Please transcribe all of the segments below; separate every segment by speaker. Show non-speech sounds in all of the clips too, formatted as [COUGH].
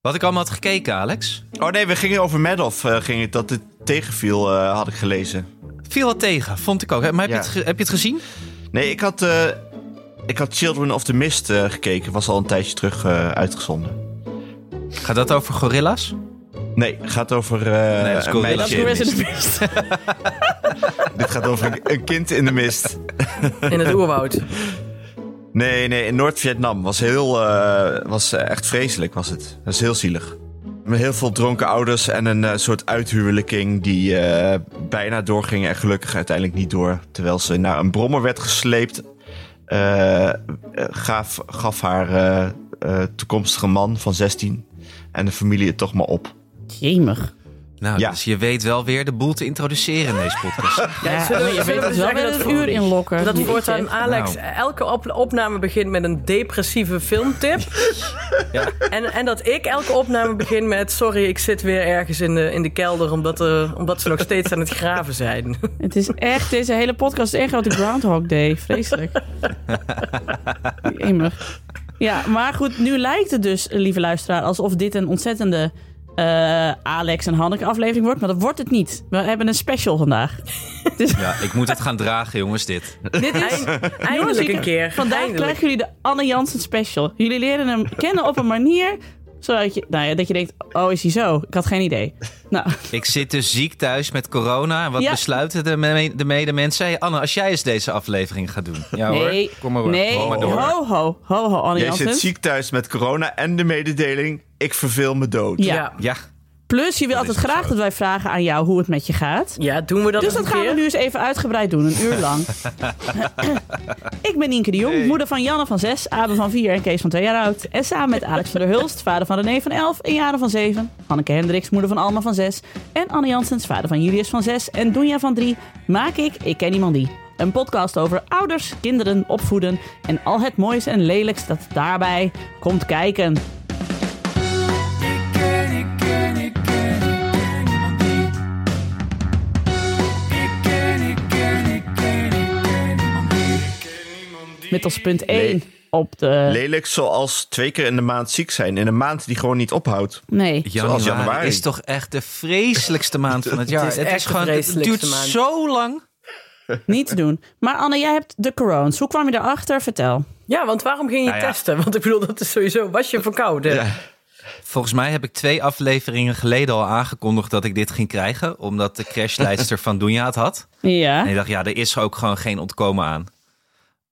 Speaker 1: Wat ik allemaal had gekeken, Alex.
Speaker 2: Oh nee, we gingen over Madoff, eh, ging het, dat het tegenviel, eh, had ik gelezen.
Speaker 1: Viel wat tegen, vond ik ook. Hè, Maar heb,
Speaker 2: Ja.
Speaker 1: je, het ge- heb je het gezien?
Speaker 2: Nee, ik had, eh, ik had Children of the Mist eh, gekeken. Was al een tijdje terug eh, uitgezonden.
Speaker 1: Gaat dat over gorilla's?
Speaker 2: Nee, het gaat over eh,
Speaker 1: Nee, dat is
Speaker 2: een
Speaker 1: cool.
Speaker 2: meisje
Speaker 1: Dat
Speaker 3: Dat
Speaker 1: is
Speaker 3: is
Speaker 2: in de
Speaker 3: Resident
Speaker 2: mist.
Speaker 3: Evil.
Speaker 2: Dit gaat over een, een kind in de mist.
Speaker 3: In het oerwoud.
Speaker 2: Nee, nee, in Noord-Vietnam. Was heel, eh, was eh, echt vreselijk was het. Dat is heel zielig. Met heel veel dronken ouders en een eh, soort uithuwelijking die eh, bijna doorging en gelukkig uiteindelijk niet door. Terwijl ze naar een brommer werd gesleept, eh, eh, gaf, gaf haar eh, eh, toekomstige man van 16 en de familie het toch maar op.
Speaker 1: [LAUGHS]
Speaker 3: Jemig.
Speaker 1: Nou,
Speaker 2: Ja.
Speaker 1: dus je weet wel weer de boel te introduceren in deze podcast.
Speaker 3: Ja,
Speaker 4: zullen we-
Speaker 3: maar je weet
Speaker 4: zullen we
Speaker 3: dus wel
Speaker 4: zeggen
Speaker 3: weer
Speaker 4: dat
Speaker 3: het
Speaker 4: we-
Speaker 3: uur inlokken.
Speaker 4: Dat
Speaker 3: Jeetje.
Speaker 4: voortaan Alex
Speaker 1: Nou.
Speaker 4: elke op- opname begint met een depressieve
Speaker 1: [LAUGHS]
Speaker 4: filmtip. en, en dat ik elke opname begin met... sorry, ik zit weer ergens in de, in de kelder... Omdat, eh, omdat ze nog steeds aan het graven zijn.
Speaker 3: Het is echt, deze hele podcast is echt wat de Groundhog Day.
Speaker 4: [LAUGHS]
Speaker 3: Vreselijk. Jemig. Ja, maar goed, nu lijkt het dus, lieve luisteraar, alsof dit een ontzettende eh, Alex en Hanneke aflevering wordt. Maar dat wordt het niet. We hebben een special vandaag.
Speaker 1: [LAUGHS] ja, ik moet het gaan dragen, jongens, [LAUGHS] dit.
Speaker 3: dit is...
Speaker 4: Eind-
Speaker 3: Jongens,
Speaker 4: eindelijk
Speaker 3: ik-
Speaker 4: een keer.
Speaker 3: Vandaag
Speaker 4: eindelijk.
Speaker 3: krijgen jullie de Anne Jansen special. Jullie leren hem kennen op een manier zodat je, nou ja, dat je denkt, oh is hij zo? Ik had geen idee. Nou,
Speaker 1: Ik zit dus ziek thuis met corona. En wat
Speaker 3: Ja.
Speaker 1: besluiten de, me- de medemensen? Hey, Anne, als jij eens deze aflevering gaat doen. Ja
Speaker 3: nee,
Speaker 1: hoor, kom maar, door.
Speaker 3: nee,
Speaker 1: Kom maar door.
Speaker 3: ho, ho, ho, ho, Anne
Speaker 2: Jij
Speaker 3: Jansen.
Speaker 2: zit ziek thuis met corona en de mededeling, ik verveel me dood.
Speaker 3: Ja.
Speaker 4: Ja.
Speaker 1: Ja,
Speaker 3: Plus, je wil altijd
Speaker 1: is
Speaker 3: graag
Speaker 1: zo.
Speaker 3: dat wij vragen aan jou hoe het met je gaat.
Speaker 4: Ja, doen we dat
Speaker 3: Dus
Speaker 4: nog
Speaker 3: dat
Speaker 4: een
Speaker 3: gaan we
Speaker 4: keer?
Speaker 3: nu eens even uitgebreid doen, een uur
Speaker 1: [LAUGHS]
Speaker 3: lang. ik ben Nienke de Jong, moeder van Janne van 6, Abe van 4 en Kees van 2 jaar oud. En samen met Alex van der Hulst, vader van René van 11 en Jaren van 7. Hanneke Hendricks, moeder van Alma van 6. En Anne Janssens, vader van Julius van 6 en Doenja van 3. Maak ik Ik Ken Iemand Die. Een podcast over ouders, kinderen, opvoeden en al het moois en lelijks dat daarbij komt kijken. Met als punt 1 op de...
Speaker 2: Lelijk zoals twee keer in de maand ziek zijn. In een maand die gewoon niet ophoudt.
Speaker 3: Nee.
Speaker 1: januari,
Speaker 2: Zoals januari.
Speaker 1: is toch echt de vreselijkste maand van [LAUGHS] het jaar.
Speaker 4: is echt de
Speaker 1: het
Speaker 4: vreselijkste
Speaker 1: duurt
Speaker 4: maand.
Speaker 1: zo lang.
Speaker 3: Niet te doen. Maar Anne, jij hebt de corones. Hoe kwam je daarachter? Vertel.
Speaker 4: Ja, want waarom ging je
Speaker 1: Nou ja.
Speaker 4: testen? Want ik bedoel, dat is sowieso... Was je verkouden?
Speaker 1: Volgens mij heb ik twee afleveringen geleden al aangekondigd dat ik dit ging krijgen. Omdat de crashleidster van Doenja het had.
Speaker 4: Ah.
Speaker 3: Ja.
Speaker 1: En ik dacht, ja, er is ook gewoon geen ontkomen aan.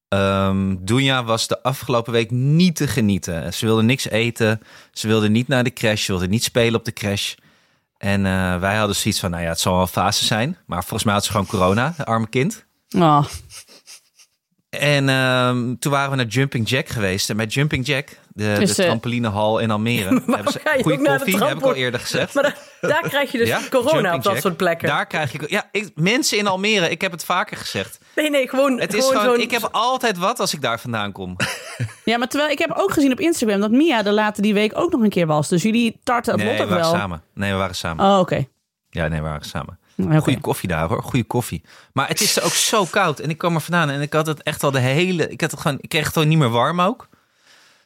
Speaker 1: Ehm Dunja was de afgelopen week niet te genieten. Ze wilde niks eten. Ze wilde niet naar de crash. Ze wilde niet spelen op de crash. En eh, wij hadden zoiets van, nou ja, het zal wel een fase zijn. Maar volgens mij had ze gewoon corona, de arme kind.
Speaker 3: Oh,
Speaker 1: En ehm, toen waren we naar Jumping Jack geweest. En bij Jumping Jack, de,
Speaker 3: Dus,
Speaker 1: de
Speaker 3: eh,
Speaker 1: trampolinehal in
Speaker 4: [LAUGHS]
Speaker 1: Almere. hebben ze
Speaker 4: ga je
Speaker 1: goede
Speaker 4: ook naar de
Speaker 1: koffie, heb ik al
Speaker 4: trampoline?
Speaker 1: eerder gezegd.
Speaker 4: Maar daar, daar krijg je dus
Speaker 1: Ja,
Speaker 4: corona
Speaker 1: Jumping
Speaker 4: op dat
Speaker 1: Jack.
Speaker 4: soort plekken.
Speaker 1: Daar krijg ik... Ja, ik- mensen in Almere, ik heb het vaker gezegd.
Speaker 4: Nee, nee, gewoon,
Speaker 1: Het is
Speaker 4: gewoon,
Speaker 1: gewoon,
Speaker 4: zo'n-
Speaker 1: ik heb altijd wat als ik daar vandaan kom.
Speaker 3: Ja, maar terwijl ik heb ook gezien op Instagram dat Mia de later die week ook nog een keer was. Dus jullie tarten het
Speaker 1: nee,
Speaker 3: lot
Speaker 1: we
Speaker 3: ook
Speaker 1: waren
Speaker 3: wel.
Speaker 1: samen. Nee, we waren samen.
Speaker 3: Oh, oké.
Speaker 1: Ja, nee, we waren samen.
Speaker 4: Nou,
Speaker 3: Oké.
Speaker 1: Goeie koffie daar hoor, goede koffie. Maar het is er ook zo koud en ik kwam er vandaan en ik had het echt al de hele... Ik, had het gewoon, ik kreeg het gewoon niet meer warm ook.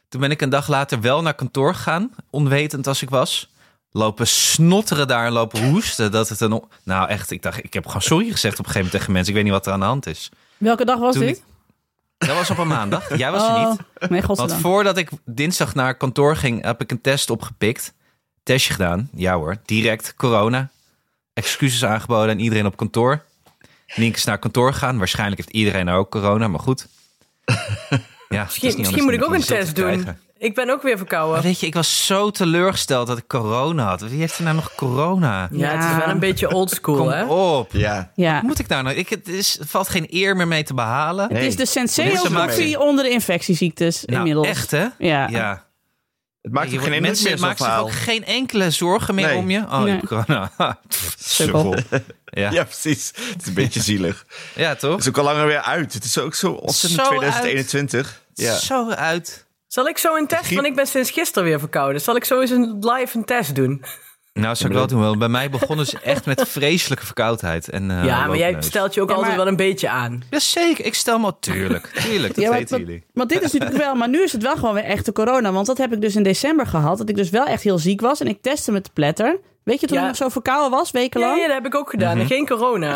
Speaker 1: Toen ben ik een dag later wel naar kantoor gegaan, onwetend als ik was. Lopen snotteren daar en lopen hoesten. Dat het een, on- nou echt, ik dacht, ik heb gewoon sorry gezegd op een gegeven moment tegen mensen. Ik weet niet wat er aan de hand is.
Speaker 3: Welke dag was
Speaker 1: Toen
Speaker 3: dit?
Speaker 1: ik- Dat was op een maandag. Jij was er niet.
Speaker 3: Oh, nee,
Speaker 1: Want
Speaker 3: godzijdank.
Speaker 1: voordat ik dinsdag naar kantoor ging, heb ik een test opgepikt. Testje gedaan. Ja hoor, direct corona. Excuses aangeboden aan iedereen op kantoor. Nienke is naar kantoor gegaan. Waarschijnlijk heeft iedereen daar ook corona, maar
Speaker 4: [LAUGHS]
Speaker 1: goed. Ja,
Speaker 4: Misschien, misschien moet ik ook een test doen. Ik ben ook weer
Speaker 1: Maar
Speaker 4: verkouden.
Speaker 1: weet je, ik was zo teleurgesteld dat ik corona had. Wie heeft er nou nog corona?
Speaker 4: Ja, het
Speaker 3: Ja.
Speaker 4: is wel een beetje oldschool, hè?
Speaker 1: Kom op.
Speaker 2: Ja.
Speaker 3: Ja.
Speaker 1: Moet ik daar nou? Ik, het is, er valt geen eer meer mee te behalen.
Speaker 3: Het is de
Speaker 1: Mensen
Speaker 3: senseo
Speaker 1: maken-
Speaker 3: onder de infectieziektes
Speaker 1: Nou,
Speaker 3: inmiddels.
Speaker 1: echt hè?
Speaker 3: Ja.
Speaker 1: ja.
Speaker 2: Het maakt
Speaker 1: Je wordt-
Speaker 2: ook geen indruk
Speaker 1: mensen
Speaker 2: meer zo'n
Speaker 1: maken zich
Speaker 2: verhaal.
Speaker 1: ook geen enkele zorgen meer
Speaker 2: Nee.
Speaker 1: om je. Oh,
Speaker 3: Nee.
Speaker 1: je corona. [LAUGHS] Pff,
Speaker 3: Sukkel.
Speaker 1: sukkel. Ja.
Speaker 2: [LAUGHS] Ja, precies. Het is een beetje zielig.
Speaker 1: ja, toch?
Speaker 2: Het is ook al langer weer uit. Het is ook zo ontzettend
Speaker 1: Zo
Speaker 2: 2021. Ja.
Speaker 1: Zo uit.
Speaker 4: Zal ik zo een test?
Speaker 2: Griep-
Speaker 4: Want ik ben sinds gisteren weer verkouden. Zal ik zo eens een live een test doen?
Speaker 1: Nou, zou ik wel doen. wel. Bij mij begonnen ze echt met vreselijke verkoudheid. En, eh,
Speaker 4: ja, maar jij
Speaker 1: loopneus.
Speaker 4: stelt je ook
Speaker 3: Ja,
Speaker 4: altijd
Speaker 3: maar-
Speaker 4: wel een beetje aan.
Speaker 1: Jazeker, ik stel me al- [LAUGHS] tuurlijk. Tuurlijk, dat
Speaker 3: Ja, want,
Speaker 1: weten
Speaker 3: want-
Speaker 1: jullie.
Speaker 3: want dit is natuurlijk wel, maar nu is het wel gewoon weer echte corona. Want dat heb ik dus in december gehad. Dat ik dus wel echt heel ziek was en ik testte met de pletter. Weet je toen
Speaker 4: Ja.
Speaker 3: ik nog zo verkouden was,
Speaker 4: Ja,
Speaker 3: wekenlang?
Speaker 4: ja, dat heb ik ook gedaan. Geen corona.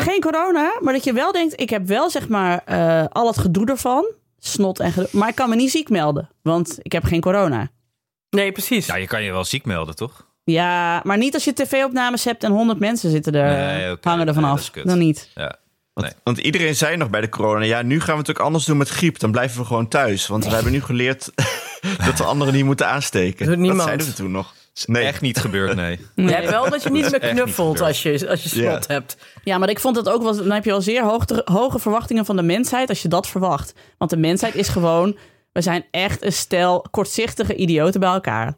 Speaker 3: [LAUGHS] Geen corona, maar dat je wel denkt, ik heb wel zeg maar eh, al het gedoe ervan. Snot en gedoe. Maar ik kan me niet ziek melden, want ik heb geen corona.
Speaker 4: Nee, precies.
Speaker 1: Nou, je kan je wel ziek melden, toch?
Speaker 3: Ja, maar niet als je tv-opnames hebt en 100 mensen zitten er, eh,
Speaker 1: Nee, oké.
Speaker 3: hangen er
Speaker 1: Nee, dat
Speaker 3: vanaf.
Speaker 1: is kut.
Speaker 3: dan niet.
Speaker 1: Ja.
Speaker 2: Want iedereen zei nog bij de corona, ja, nu gaan we het ook anders doen met griep. Dan blijven we gewoon thuis. Want we hebben nu geleerd [LAUGHS] dat de anderen niet moeten aansteken.
Speaker 4: Doet niemand.
Speaker 2: Dat zeiden we toen nog. Nee,
Speaker 1: Echt niet gebeurd, [LAUGHS] nee.
Speaker 4: Je hebt wel dat je niet meer
Speaker 1: echt niet
Speaker 4: knuffelt
Speaker 1: gebeurd.
Speaker 4: als je, als je
Speaker 2: Ja.
Speaker 4: snot hebt.
Speaker 3: Ja, maar ik vond dat ook wel. Dan heb je al zeer hoogte- hoge verwachtingen van de mensheid als je dat verwacht. Want de mensheid is gewoon. We zijn echt een stel kortzichtige idioten bij elkaar.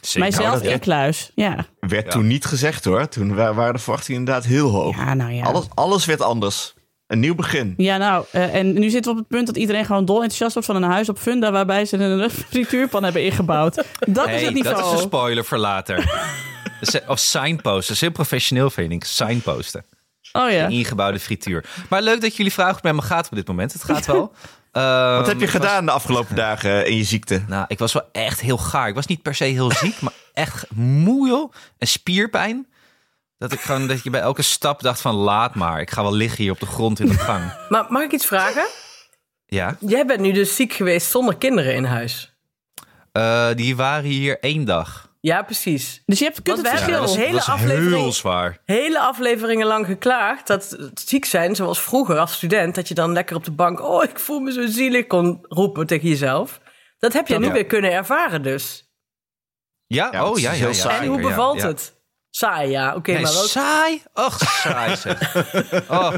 Speaker 1: Zeker. Oh,
Speaker 3: Mijzelf
Speaker 2: dat-
Speaker 3: incluis. Ja.
Speaker 2: werd
Speaker 1: Ja.
Speaker 2: toen niet gezegd hoor. Toen wa- waren de verwachtingen inderdaad heel hoog.
Speaker 3: ja, nou ja.
Speaker 2: Alles, alles werd anders. Een nieuw begin.
Speaker 3: Ja, nou, eh, en nu zitten we op het punt dat iedereen gewoon dol enthousiast wordt van een huis op Funda waarbij ze een frituurpan hebben ingebouwd. Dat is
Speaker 1: Hey,
Speaker 3: het niveau.
Speaker 1: dat is een spoiler voor later. [LAUGHS] Dat is- of signposten. Dat is heel professioneel, vind ik. Signposten.
Speaker 3: oh ja.
Speaker 1: Ingebouwde frituur. Maar leuk dat jullie vragen bij me gaat op dit moment. Het gaat
Speaker 3: [LAUGHS]
Speaker 1: wel. Ehm,
Speaker 2: Wat heb je
Speaker 1: ik was-
Speaker 2: gedaan de afgelopen dagen in je ziekte?
Speaker 1: nou, ik was wel echt heel gaar. Ik was niet per se heel ziek, maar echt moe, joh. En spierpijn. Dat ik gewoon, dat je bij elke stap dacht van laat maar. Ik ga wel liggen hier op de grond in de gang.
Speaker 4: Maar mag ik iets vragen?
Speaker 1: Ja.
Speaker 4: Jij bent nu dus ziek geweest zonder kinderen in huis.
Speaker 1: Eh, die waren hier één dag.
Speaker 4: Ja, precies.
Speaker 3: Dus je hebt, kunt
Speaker 4: Want
Speaker 3: het
Speaker 4: we
Speaker 3: verschil.
Speaker 4: hebben
Speaker 1: dat
Speaker 4: een hele
Speaker 1: was heel
Speaker 4: aflevering-
Speaker 1: zwaar.
Speaker 4: hele afleveringen lang geklaagd dat het ziek zijn, zoals vroeger als student, dat je dan lekker op de bank, oh, ik voel me zo zielig, kon roepen tegen jezelf. Dat heb je nu
Speaker 1: ja.
Speaker 4: weer kunnen ervaren dus.
Speaker 1: Ja,
Speaker 2: Ja,
Speaker 1: oh
Speaker 2: het is
Speaker 1: ja, ja,
Speaker 2: heel
Speaker 1: ja,
Speaker 2: saai.
Speaker 4: en
Speaker 1: zeker,
Speaker 4: hoe
Speaker 1: ja,
Speaker 4: bevalt
Speaker 1: ja.
Speaker 4: het? Saai, ja. Oké,
Speaker 1: Nee,
Speaker 4: maar wel...
Speaker 1: saai? Och, saai zeg. Oh,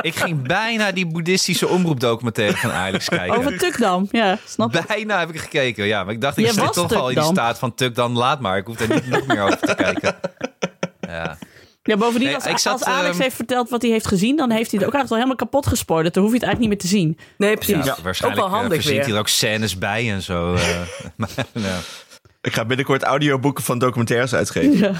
Speaker 1: ik ging bijna die boeddhistische omroepdocumentaire van Alex kijken.
Speaker 3: Over Tukdam. Ja, [LAUGHS] snap je?
Speaker 1: Bijna heb ik gekeken, ja. Maar ik dacht, ik
Speaker 3: Jij
Speaker 1: zit
Speaker 3: was
Speaker 1: toch al in die
Speaker 3: Tukdam.
Speaker 1: staat van Tuk, dan laat maar. Ik hoef daar niet nog meer over te kijken. Ja.
Speaker 3: Ja, bovendien,
Speaker 1: Nee,
Speaker 3: als,
Speaker 1: ik zat,
Speaker 3: als Alex
Speaker 1: ehm,
Speaker 3: heeft verteld wat hij heeft gezien, dan heeft hij het ook eigenlijk al helemaal kapot gespoord. Dan hoef je het eigenlijk niet meer te zien.
Speaker 4: Nee, precies.
Speaker 1: Ja, waarschijnlijk
Speaker 4: ook wel
Speaker 1: eh,
Speaker 4: handig
Speaker 1: verzint hij
Speaker 4: weer.
Speaker 1: er ook scènes bij en zo. eh. [LAUGHS] Maar, ja.
Speaker 2: Ik ga binnenkort audioboeken van documentaires uitgeven.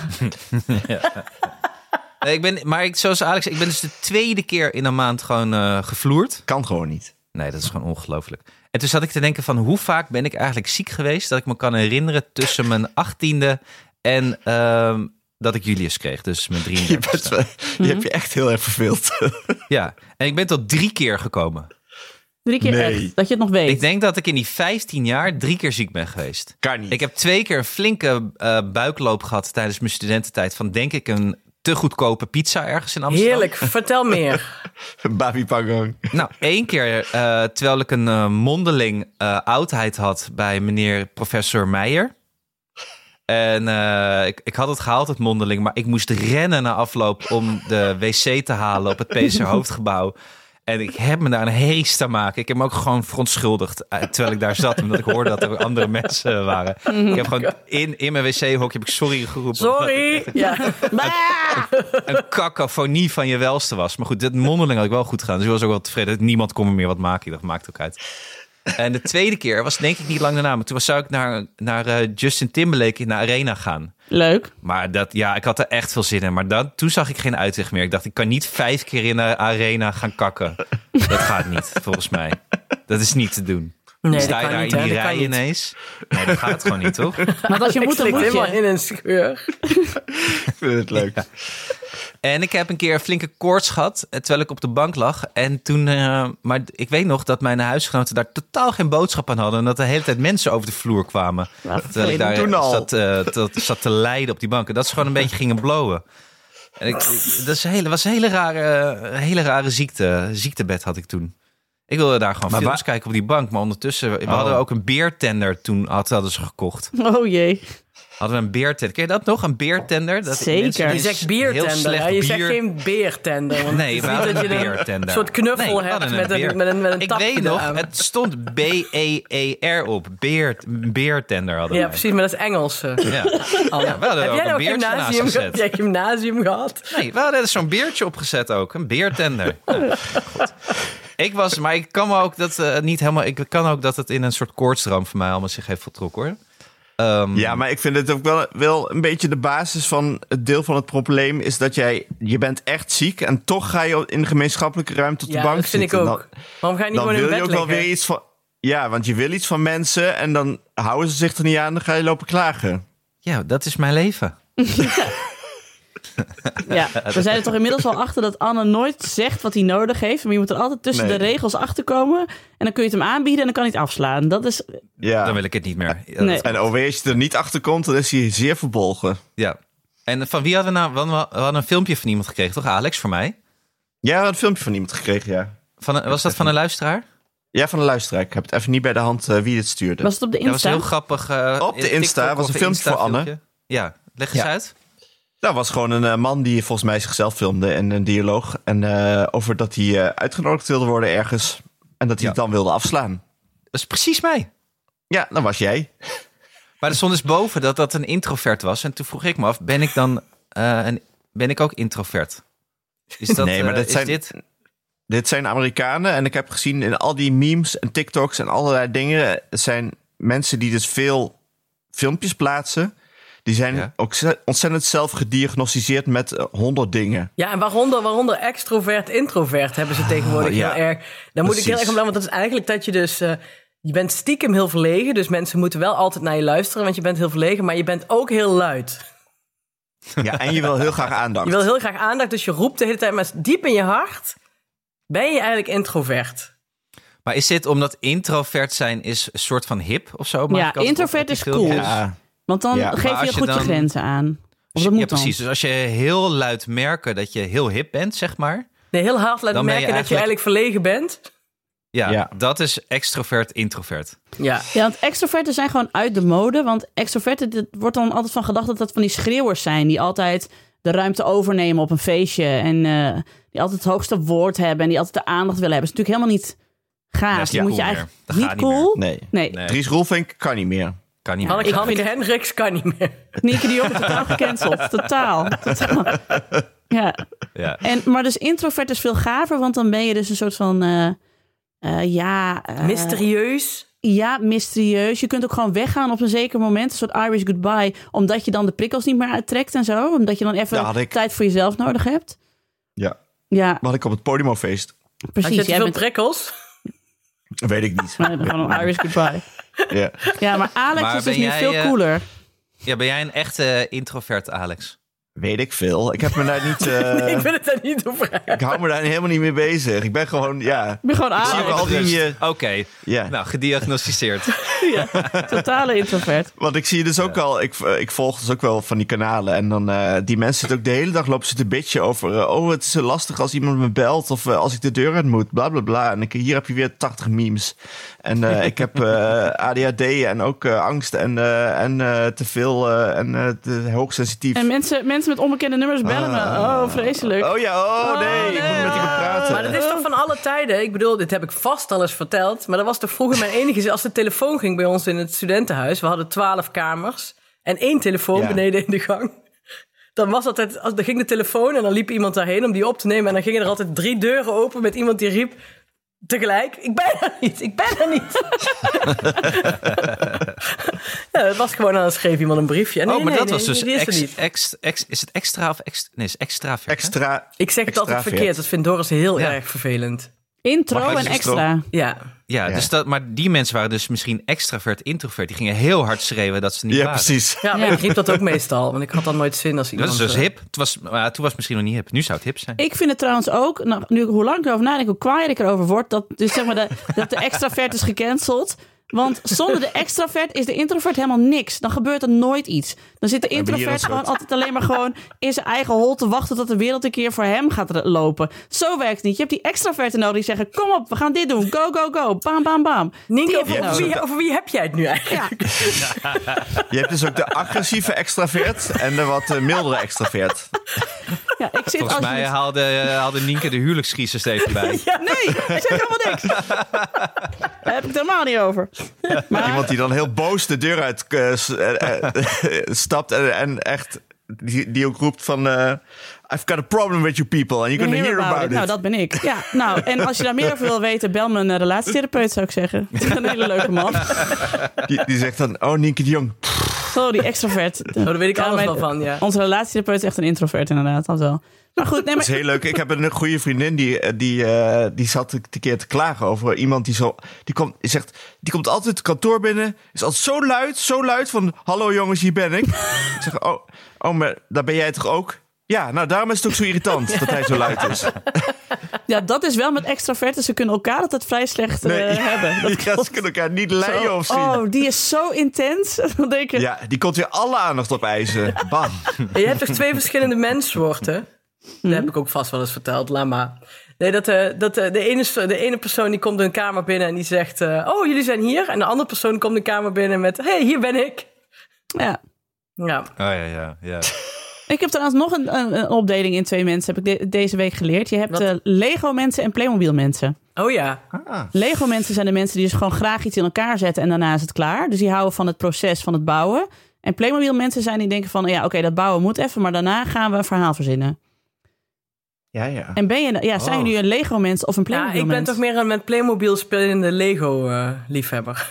Speaker 1: Nee, ik ben, maar ik, zoals Alex, zei, ik ben dus de tweede keer in een maand gewoon eh, gevloerd.
Speaker 2: Kan gewoon niet.
Speaker 1: Nee, dat is gewoon ongelooflijk. En toen zat ik te denken van hoe vaak ben ik eigenlijk ziek geweest... dat ik me kan herinneren tussen mijn achttiende en ehm, dat ik Julius kreeg. Dus mijn
Speaker 2: [LAUGHS] Je,
Speaker 1: 33.
Speaker 2: bent, wel-
Speaker 4: Mhm.
Speaker 2: je hebt je echt heel erg verveeld.
Speaker 1: Ja, en ik ben tot drie keer gekomen.
Speaker 3: Drie keer
Speaker 2: Nee.
Speaker 3: echt, dat je het nog weet.
Speaker 1: Ik denk dat ik in die 15 jaar drie keer ziek ben geweest.
Speaker 2: Kan niet.
Speaker 1: Ik heb twee keer een flinke eh, buikloop gehad tijdens mijn studententijd... van denk ik een te goedkope pizza ergens in Amsterdam.
Speaker 4: Heerlijk, vertel
Speaker 1: [LAUGHS]
Speaker 4: meer.
Speaker 2: Babi Pangong.
Speaker 1: Nou, één keer eh, terwijl ik een eh, mondeling eh, oudheid had bij meneer professor Meijer. En eh, ik, ik had het gehaald, het mondeling, maar ik moest rennen na afloop om de wc te halen op het PC Hoofdgebouw. En ik heb me daar een heest aan maken. Ik heb me ook gewoon verontschuldigd eh, terwijl ik daar zat, omdat ik hoorde dat er ook andere [LAUGHS] mensen waren. Ik heb gewoon in, in mijn wc-hokje heb ik sorry geroepen.
Speaker 4: Sorry. [LAUGHS] Ja.
Speaker 1: [LAUGHS]
Speaker 3: Bah!
Speaker 1: Een cacophonie van je welste was. Maar goed, dit mondeling had ik wel goed gedaan. Dus ik was ook wel tevreden. Niemand kon me meer wat maken. Ik dacht, maakt ook uit. En de tweede keer was denk ik niet lang daarna. Maar toen was- zou ik naar, naar eh, Justin Timberlake in de arena gaan.
Speaker 3: Leuk.
Speaker 1: Maar dat, ja, ik had er echt veel zin in. Maar dan, toen zag ik geen uitweg meer. Ik dacht, ik kan niet vijf keer in de arena gaan kakken. Dat gaat niet, volgens mij. Dat is niet te doen.
Speaker 4: Nee,
Speaker 1: Sta
Speaker 4: dat
Speaker 1: je
Speaker 4: kan
Speaker 1: daar
Speaker 4: niet,
Speaker 1: in
Speaker 4: hè,
Speaker 1: die
Speaker 4: dat kan
Speaker 1: rij
Speaker 4: niet.
Speaker 1: ineens? Nee, dat gaat gewoon niet, toch?
Speaker 3: Maar als je
Speaker 4: Ik
Speaker 3: moet, dan
Speaker 4: slik
Speaker 3: moet
Speaker 4: helemaal
Speaker 3: je.
Speaker 4: in een scheur.
Speaker 2: Ik vind het leuk.
Speaker 1: En ik heb een keer een flinke koorts gehad, eh, terwijl ik op de bank lag. En toen, eh, maar ik weet nog dat mijn huisgenoten daar totaal geen boodschap aan hadden. En dat de hele tijd mensen over de vloer kwamen.
Speaker 3: Nou,
Speaker 1: Terwijl ik daar
Speaker 2: Toen al.
Speaker 1: zat, eh, te- zat te lijden op die bank. En dat ze gewoon een beetje gingen blowen. En ik, ik- dat is een hele, was een hele rare, eh, hele rare ziekte, ziektebed had ik toen. Ik wilde daar gewoon
Speaker 2: Maar
Speaker 1: films
Speaker 2: waar-
Speaker 1: kijken op die bank. Maar ondertussen, we
Speaker 2: Oh.
Speaker 1: hadden ook een beertender toen, had- hadden ze gekocht.
Speaker 3: Oh jee.
Speaker 1: Hadden we een beertender. Ken je dat nog? Een beertender? Dat die
Speaker 3: Zeker.
Speaker 1: mensen die
Speaker 4: Je
Speaker 3: Je
Speaker 4: zegt
Speaker 1: heel
Speaker 4: biertender,
Speaker 1: slecht
Speaker 4: hè? je zegt
Speaker 1: bier-
Speaker 4: geen beertender. Want
Speaker 1: Nee, we
Speaker 4: het is niet
Speaker 1: hadden
Speaker 4: dat je
Speaker 1: een
Speaker 4: een
Speaker 1: beertender.
Speaker 4: soort knuffel
Speaker 1: Nee, we
Speaker 4: hebt
Speaker 1: hadden
Speaker 4: met een-
Speaker 1: beer.
Speaker 4: met een- met een
Speaker 1: Ik
Speaker 4: tap
Speaker 1: weet nog,
Speaker 4: eraan.
Speaker 1: het stond B-E-E-R op. Beert, beertender hadden
Speaker 4: Ja,
Speaker 1: wij.
Speaker 4: precies, maar dat is
Speaker 1: [LAUGHS]
Speaker 4: Engels. eh.
Speaker 1: Ja. Ja,
Speaker 4: [LAUGHS]
Speaker 1: we hadden er
Speaker 4: Heb
Speaker 1: ook
Speaker 4: jij
Speaker 1: een
Speaker 4: nou
Speaker 1: beertje naast
Speaker 4: gymnasium, heb
Speaker 1: gezet.
Speaker 4: jij gymnasium gehad?
Speaker 1: Nee, we hadden er zo'n beertje opgezet ook. Een beertender. Ja, goed. Ik was, maar ik kan me ook dat eh, niet helemaal. Ik kan ook dat het in een soort koortsdroom voor mij allemaal zich heeft voltrokken hoor. Ehm,
Speaker 2: Ja, maar ik vind het ook wel, wel een beetje de basis van het deel van het probleem is dat jij, je bent echt ziek en toch ga je in de gemeenschappelijke ruimte op
Speaker 4: ja,
Speaker 2: de bank
Speaker 4: dat vind ik
Speaker 2: zitten.
Speaker 4: ook.
Speaker 2: Dan-
Speaker 4: Waarom ga je niet
Speaker 2: Dan,
Speaker 4: gewoon in
Speaker 2: wil
Speaker 4: bed
Speaker 2: je ook wel
Speaker 4: liggen?
Speaker 2: weer iets van, ja, want je wil iets van mensen en dan houden ze zich er niet aan, dan ga je lopen klagen.
Speaker 1: ja, dat is mijn leven.
Speaker 3: Ja,
Speaker 1: [LAUGHS]
Speaker 3: we zijn er toch inmiddels al achter dat Anne nooit zegt wat hij nodig heeft. Maar je moet er altijd tussen
Speaker 2: Nee.
Speaker 3: de regels achterkomen. En dan kun je het hem aanbieden en dan kan hij het afslaan. Dat is,
Speaker 2: Ja.
Speaker 1: Dan wil ik het niet meer. Ja,
Speaker 3: Nee.
Speaker 1: dat-
Speaker 2: En oh, als je er niet achter komt, dan is hij zeer verbolgen.
Speaker 1: ja. En van wie hadden we nou... want We we hadden een filmpje van iemand gekregen, toch? Alex, voor mij.
Speaker 2: Jij had een filmpje van iemand gekregen, ja.
Speaker 1: Van een- was dat van een luisteraar?
Speaker 2: Ja, van een luisteraar. Ik heb het even niet bij de hand eh, wie dit stuurde.
Speaker 3: was het op de
Speaker 1: Dat was
Speaker 3: Insta?
Speaker 1: heel grappig. eh,
Speaker 2: Op de Insta,
Speaker 1: TikTok
Speaker 2: was
Speaker 1: of
Speaker 2: een filmpje voor Anne.
Speaker 1: Insta-filmpje. Ja, leg eens
Speaker 2: Ja.
Speaker 1: uit.
Speaker 2: Dat was gewoon een eh, man die volgens mij zichzelf filmde en een dialoog. En eh, over dat hij eh, uitgenodigd wilde worden ergens. En dat hij
Speaker 1: Ja.
Speaker 2: het dan wilde afslaan.
Speaker 1: Dat is precies mij.
Speaker 2: Ja, dan was jij.
Speaker 1: Maar er stond dus boven dat dat een introvert was. En toen vroeg ik me af, ben ik dan eh, een, ben ik ook introvert? Is dat,
Speaker 2: [LAUGHS] Nee, maar
Speaker 1: eh,
Speaker 2: dat
Speaker 1: is
Speaker 2: zijn-
Speaker 1: dit?
Speaker 2: Dit zijn Amerikanen. En ik heb gezien in al die memes en TikToks en allerlei dingen. Het zijn mensen die dus veel filmpjes plaatsen. Die zijn
Speaker 1: Ja.
Speaker 2: ook ze- ontzettend zelf gediagnosticeerd met eh, honderd dingen.
Speaker 4: Ja, en waaronder, waaronder extrovert, introvert hebben ze tegenwoordig
Speaker 2: Oh, ja.
Speaker 4: heel erg. Daar moet ik heel
Speaker 2: Precies.
Speaker 4: erg om lachen, want dat is eigenlijk dat je dus... eh, je bent stiekem heel verlegen, dus mensen moeten wel altijd naar je luisteren, want je bent heel verlegen, maar je bent ook heel luid.
Speaker 2: Ja, en je wil heel
Speaker 1: [LAUGHS]
Speaker 2: graag aandacht.
Speaker 4: Je wil heel graag aandacht, dus je roept de hele tijd, maar diep in je hart ben je eigenlijk introvert.
Speaker 1: Maar is dit omdat introvert zijn is een soort van hip of zo? Maak
Speaker 3: Ja,
Speaker 1: ik altijd op
Speaker 3: introvert
Speaker 1: met die
Speaker 3: is
Speaker 1: filmpjes.
Speaker 3: cool.
Speaker 2: Ja.
Speaker 3: Want dan
Speaker 2: Ja, maar
Speaker 3: geef
Speaker 1: als
Speaker 3: je
Speaker 1: je
Speaker 3: goed je
Speaker 1: dan-
Speaker 3: grenzen aan. Of dat moet
Speaker 1: ja,
Speaker 3: dan.
Speaker 1: precies. Dus als je heel luid merken dat je heel hip bent, zeg maar.
Speaker 4: Nee, heel hard laten
Speaker 1: Dan ben je
Speaker 4: merken dat je eigenlijk verlegen bent.
Speaker 1: Ja,
Speaker 2: Ja.
Speaker 1: dat is extrovert, introvert.
Speaker 4: Ja,
Speaker 3: Ja, want extroverten zijn gewoon uit de mode. Want extroverten, het wordt dan altijd van gedacht dat dat van die schreeuwers zijn. Die altijd de ruimte overnemen op een feestje. En eh, die altijd het hoogste woord hebben. En die altijd de aandacht willen hebben. Dat is natuurlijk helemaal niet gaaf.
Speaker 1: Dat is
Speaker 3: Die
Speaker 1: niet
Speaker 3: moet je
Speaker 1: cool
Speaker 3: eigenlijk
Speaker 1: meer. Dat
Speaker 3: niet
Speaker 1: gaat niet
Speaker 3: cool.
Speaker 2: Nee.
Speaker 3: Nee,
Speaker 1: Nee,
Speaker 2: Dries Roelvink kan niet meer.
Speaker 1: kan niet meer.
Speaker 4: Hanneke, Hanneke Hendricks kan niet meer.
Speaker 3: Nienke de Jong totaal [LAUGHS] gecanceld. Totaal. totaal. Ja.
Speaker 1: Ja.
Speaker 3: En, maar dus introvert is veel gaver. Want dan ben je dus een soort van... eh, eh, ja, eh,
Speaker 4: Mysterieus.
Speaker 3: Ja, mysterieus. Je kunt ook gewoon weggaan op een zeker moment. Een soort Irish goodbye. Omdat je dan de prikkels niet meer uittrekt en zo. Omdat je dan even
Speaker 2: Ja, had ik.
Speaker 3: tijd voor jezelf nodig hebt.
Speaker 2: Ja.
Speaker 3: Ja,
Speaker 2: Wat ik op het Podimo-feest.
Speaker 3: precies.
Speaker 4: Had je te
Speaker 3: Jij
Speaker 4: veel
Speaker 3: bent
Speaker 4: prikkels?
Speaker 2: Weet
Speaker 1: [LAUGHS]
Speaker 2: ik niet.
Speaker 3: Nee, gewoon [LAUGHS] een Irish goodbye.
Speaker 2: Ja.
Speaker 3: Ja, maar Alex
Speaker 1: Maar
Speaker 3: is
Speaker 1: ben
Speaker 3: dus nu
Speaker 1: jij,
Speaker 3: veel
Speaker 1: eh,
Speaker 3: cooler.
Speaker 1: ja, ben jij een echte introvert, Alex?
Speaker 2: Weet ik veel. Ik heb me daar
Speaker 4: [LAUGHS]
Speaker 2: niet. eh,
Speaker 4: Ik wil het daar niet over vragen.
Speaker 2: Ik hou me daar helemaal niet mee bezig. Ik ben gewoon, ja.
Speaker 3: Ik ben gewoon
Speaker 2: zie
Speaker 3: Alex.
Speaker 2: wel- al die,
Speaker 1: Rust.
Speaker 2: eh,
Speaker 1: Oké,
Speaker 2: ja.
Speaker 1: nou,
Speaker 2: [LAUGHS]
Speaker 1: gediagnosticeerd.
Speaker 3: Totale introvert.
Speaker 2: Want ik zie dus ook al, ik, eh, ik volg dus ook wel van die kanalen. En dan, eh, die mensen zitten ook de hele dag lopen ze te bitchen over. eh, oh, het is zo lastig als iemand me belt. Of eh, als ik de deur uit moet, bla bla bla. En ik, hier heb je weer 80 memes. En eh, ik heb eh, ADHD en ook eh, angst en, eh, en eh, te veel eh, en eh, te hoogsensitief.
Speaker 3: En mensen, mensen met onbekende nummers bellen me.
Speaker 2: Ah.
Speaker 3: Oh, vreselijk.
Speaker 2: Oh ja, oh,
Speaker 3: Oh,
Speaker 2: nee, ik
Speaker 3: nee.
Speaker 2: moet met iemand praten.
Speaker 4: Maar dat is toch van alle tijden? Ik bedoel, dit heb ik vast al eens verteld. Maar dat was toch vroeger mijn enige... zin. Als de telefoon ging bij ons in het studentenhuis... We hadden twaalf kamers en één telefoon
Speaker 2: Ja.
Speaker 4: beneden in de gang. Dan, was altijd, als- dan ging de telefoon en dan liep iemand daarheen om die op te nemen. En dan gingen er altijd drie deuren open met iemand die riep... Tegelijk, ik ben er niet, ik ben er niet. [LAUGHS] ja, het was gewoon, dan schreef iemand een briefje. Nee,
Speaker 1: oh, maar
Speaker 4: nee,
Speaker 1: dat
Speaker 4: nee,
Speaker 1: was dus...
Speaker 4: die is er
Speaker 1: ex-
Speaker 4: niet.
Speaker 1: ex- ex- is het extra of... Ex, nee, is extravert. hè?
Speaker 2: Extra.
Speaker 4: Ik zeg het altijd
Speaker 2: extravert.
Speaker 4: verkeerd, dat vindt Doris heel
Speaker 1: Ja.
Speaker 4: erg vervelend.
Speaker 3: Intro
Speaker 2: Mag ik
Speaker 3: en
Speaker 2: even
Speaker 3: extra.
Speaker 4: Ja,
Speaker 1: Ja,
Speaker 2: Ja.
Speaker 1: Dus dat, maar die mensen waren dus misschien extravert, introvert. Die gingen heel hard schreeuwen dat ze niet
Speaker 2: Ja,
Speaker 1: waren.
Speaker 2: precies.
Speaker 4: Ja, maar
Speaker 3: Ja.
Speaker 4: ik riep dat ook meestal, want ik had dan nooit zin als
Speaker 1: Dat
Speaker 4: iemand...
Speaker 1: is dus
Speaker 4: eh,
Speaker 1: hip. Het was, maar toen was het misschien nog niet hip. Nu zou het hip zijn.
Speaker 3: Ik vind het trouwens ook, nou, nu hoe lang ik erover nadenk, hoe kwaaier ik erover word, dat, dus zeg maar de, dat de extravert is gecanceld. Want zonder de extravert is de introvert helemaal niks. Dan gebeurt er nooit iets. Dan zit de
Speaker 2: hebben hier
Speaker 3: introvert
Speaker 2: een
Speaker 3: gewoon
Speaker 2: soort-
Speaker 3: altijd alleen maar gewoon in zijn eigen hol te wachten tot de wereld een keer voor hem gaat r- lopen. Zo werkt het niet. Je hebt die extraverten nodig die zeggen, kom op, we gaan dit doen. Go, go, go. Bam, bam, bam.
Speaker 4: Nienke,
Speaker 3: Die heb
Speaker 4: over,
Speaker 3: je
Speaker 4: over
Speaker 3: nodig.
Speaker 4: wie, over wie heb jij het nu eigenlijk?
Speaker 3: Ja,
Speaker 2: Je hebt dus ook de agressieve extravert en de wat eh, mildere extravert.
Speaker 3: ja, ik zit
Speaker 1: Volgens
Speaker 3: als
Speaker 1: mij haalde, eh, haalde Nienke de huwelijkscrisis er even
Speaker 4: [LAUGHS]
Speaker 1: bij. Oh,
Speaker 3: Nee, ik zeg helemaal niks. Daar heb ik het helemaal niet over. Maar,
Speaker 2: Iemand die dan heel boos de deur uit eh, s- eh, eh, [LAUGHS] stapt en, en echt die, die ook roept van... eh, I've got a problem with you people and you're gonna hear about it.
Speaker 3: Nou, dat ben ik. Ja, nou, en als je daar meer over wil weten, bel me een eh, [LAUGHS] relatietherapeut, zou ik zeggen. Het is een hele leuke man.
Speaker 2: Die, die zegt dan, oh Nienke de Jong, pff,
Speaker 3: Oh, die extrovert.
Speaker 4: Oh, daar weet ik
Speaker 3: Ja,
Speaker 4: alles
Speaker 3: mijn-
Speaker 4: wel van, ja.
Speaker 3: Onze relatietherapeut is echt een introvert inderdaad, dat wel. Maar goed,
Speaker 2: Dat
Speaker 3: nee, maar
Speaker 2: is heel leuk. Ik heb een goede vriendin die, eh, die, eh, die zat een keer te klagen over iemand die zo. Die komt, die zegt, die komt altijd het kantoor binnen. Is altijd zo luid, zo luid van: Hallo jongens, hier ben ik. ik zeg: Oh, oh maar daar ben jij toch ook? Ja, nou daarom is het ook zo irritant dat hij zo luid is.
Speaker 3: ja, dat is wel met extraverten. Ze kunnen elkaar altijd vrij slecht eh,
Speaker 2: Nee.
Speaker 3: [LAUGHS] hebben.
Speaker 2: [LAUGHS]
Speaker 3: Dat
Speaker 2: Die gasten kunnen elkaar niet leiden of zien.
Speaker 3: Oh, die is zo intens. [LAUGHS] Dan denk ik,
Speaker 2: Ja, die komt weer alle aandacht opeisen. Bam.
Speaker 4: Ja, Je hebt toch twee verschillende menssoorten? Dat heb ik ook vast wel eens verteld, laat maar. Nee, dat, eh, dat, eh, de, ene, de ene persoon die komt een kamer binnen en die zegt... eh, oh, jullie zijn hier. En de andere persoon komt de kamer binnen met... hey, hier ben ik.
Speaker 3: ja.
Speaker 4: Ja,
Speaker 1: ja, ja, ja.
Speaker 3: Ik heb trouwens nog een, een, een opdeling in twee mensen, heb ik de- deze week geleerd. Je hebt
Speaker 4: Wat?
Speaker 3: eh, Lego-mensen en Playmobil-mensen.
Speaker 4: oh ja.
Speaker 3: Lego-mensen zijn de mensen die dus gewoon graag iets in elkaar zetten en daarna is het klaar. Dus die houden van het proces van het bouwen. En Playmobil-mensen zijn die denken van, ja, oké, dat bouwen moet even, maar daarna gaan we een verhaal verzinnen.
Speaker 2: Ja, ja.
Speaker 3: En ben je, ja, zijn
Speaker 1: Oh.
Speaker 3: jullie een Lego-mens of een
Speaker 4: ja
Speaker 3: Playmobil-mens?
Speaker 4: ik ben toch meer een met Playmobil spelende eh, Lego-liefhebber.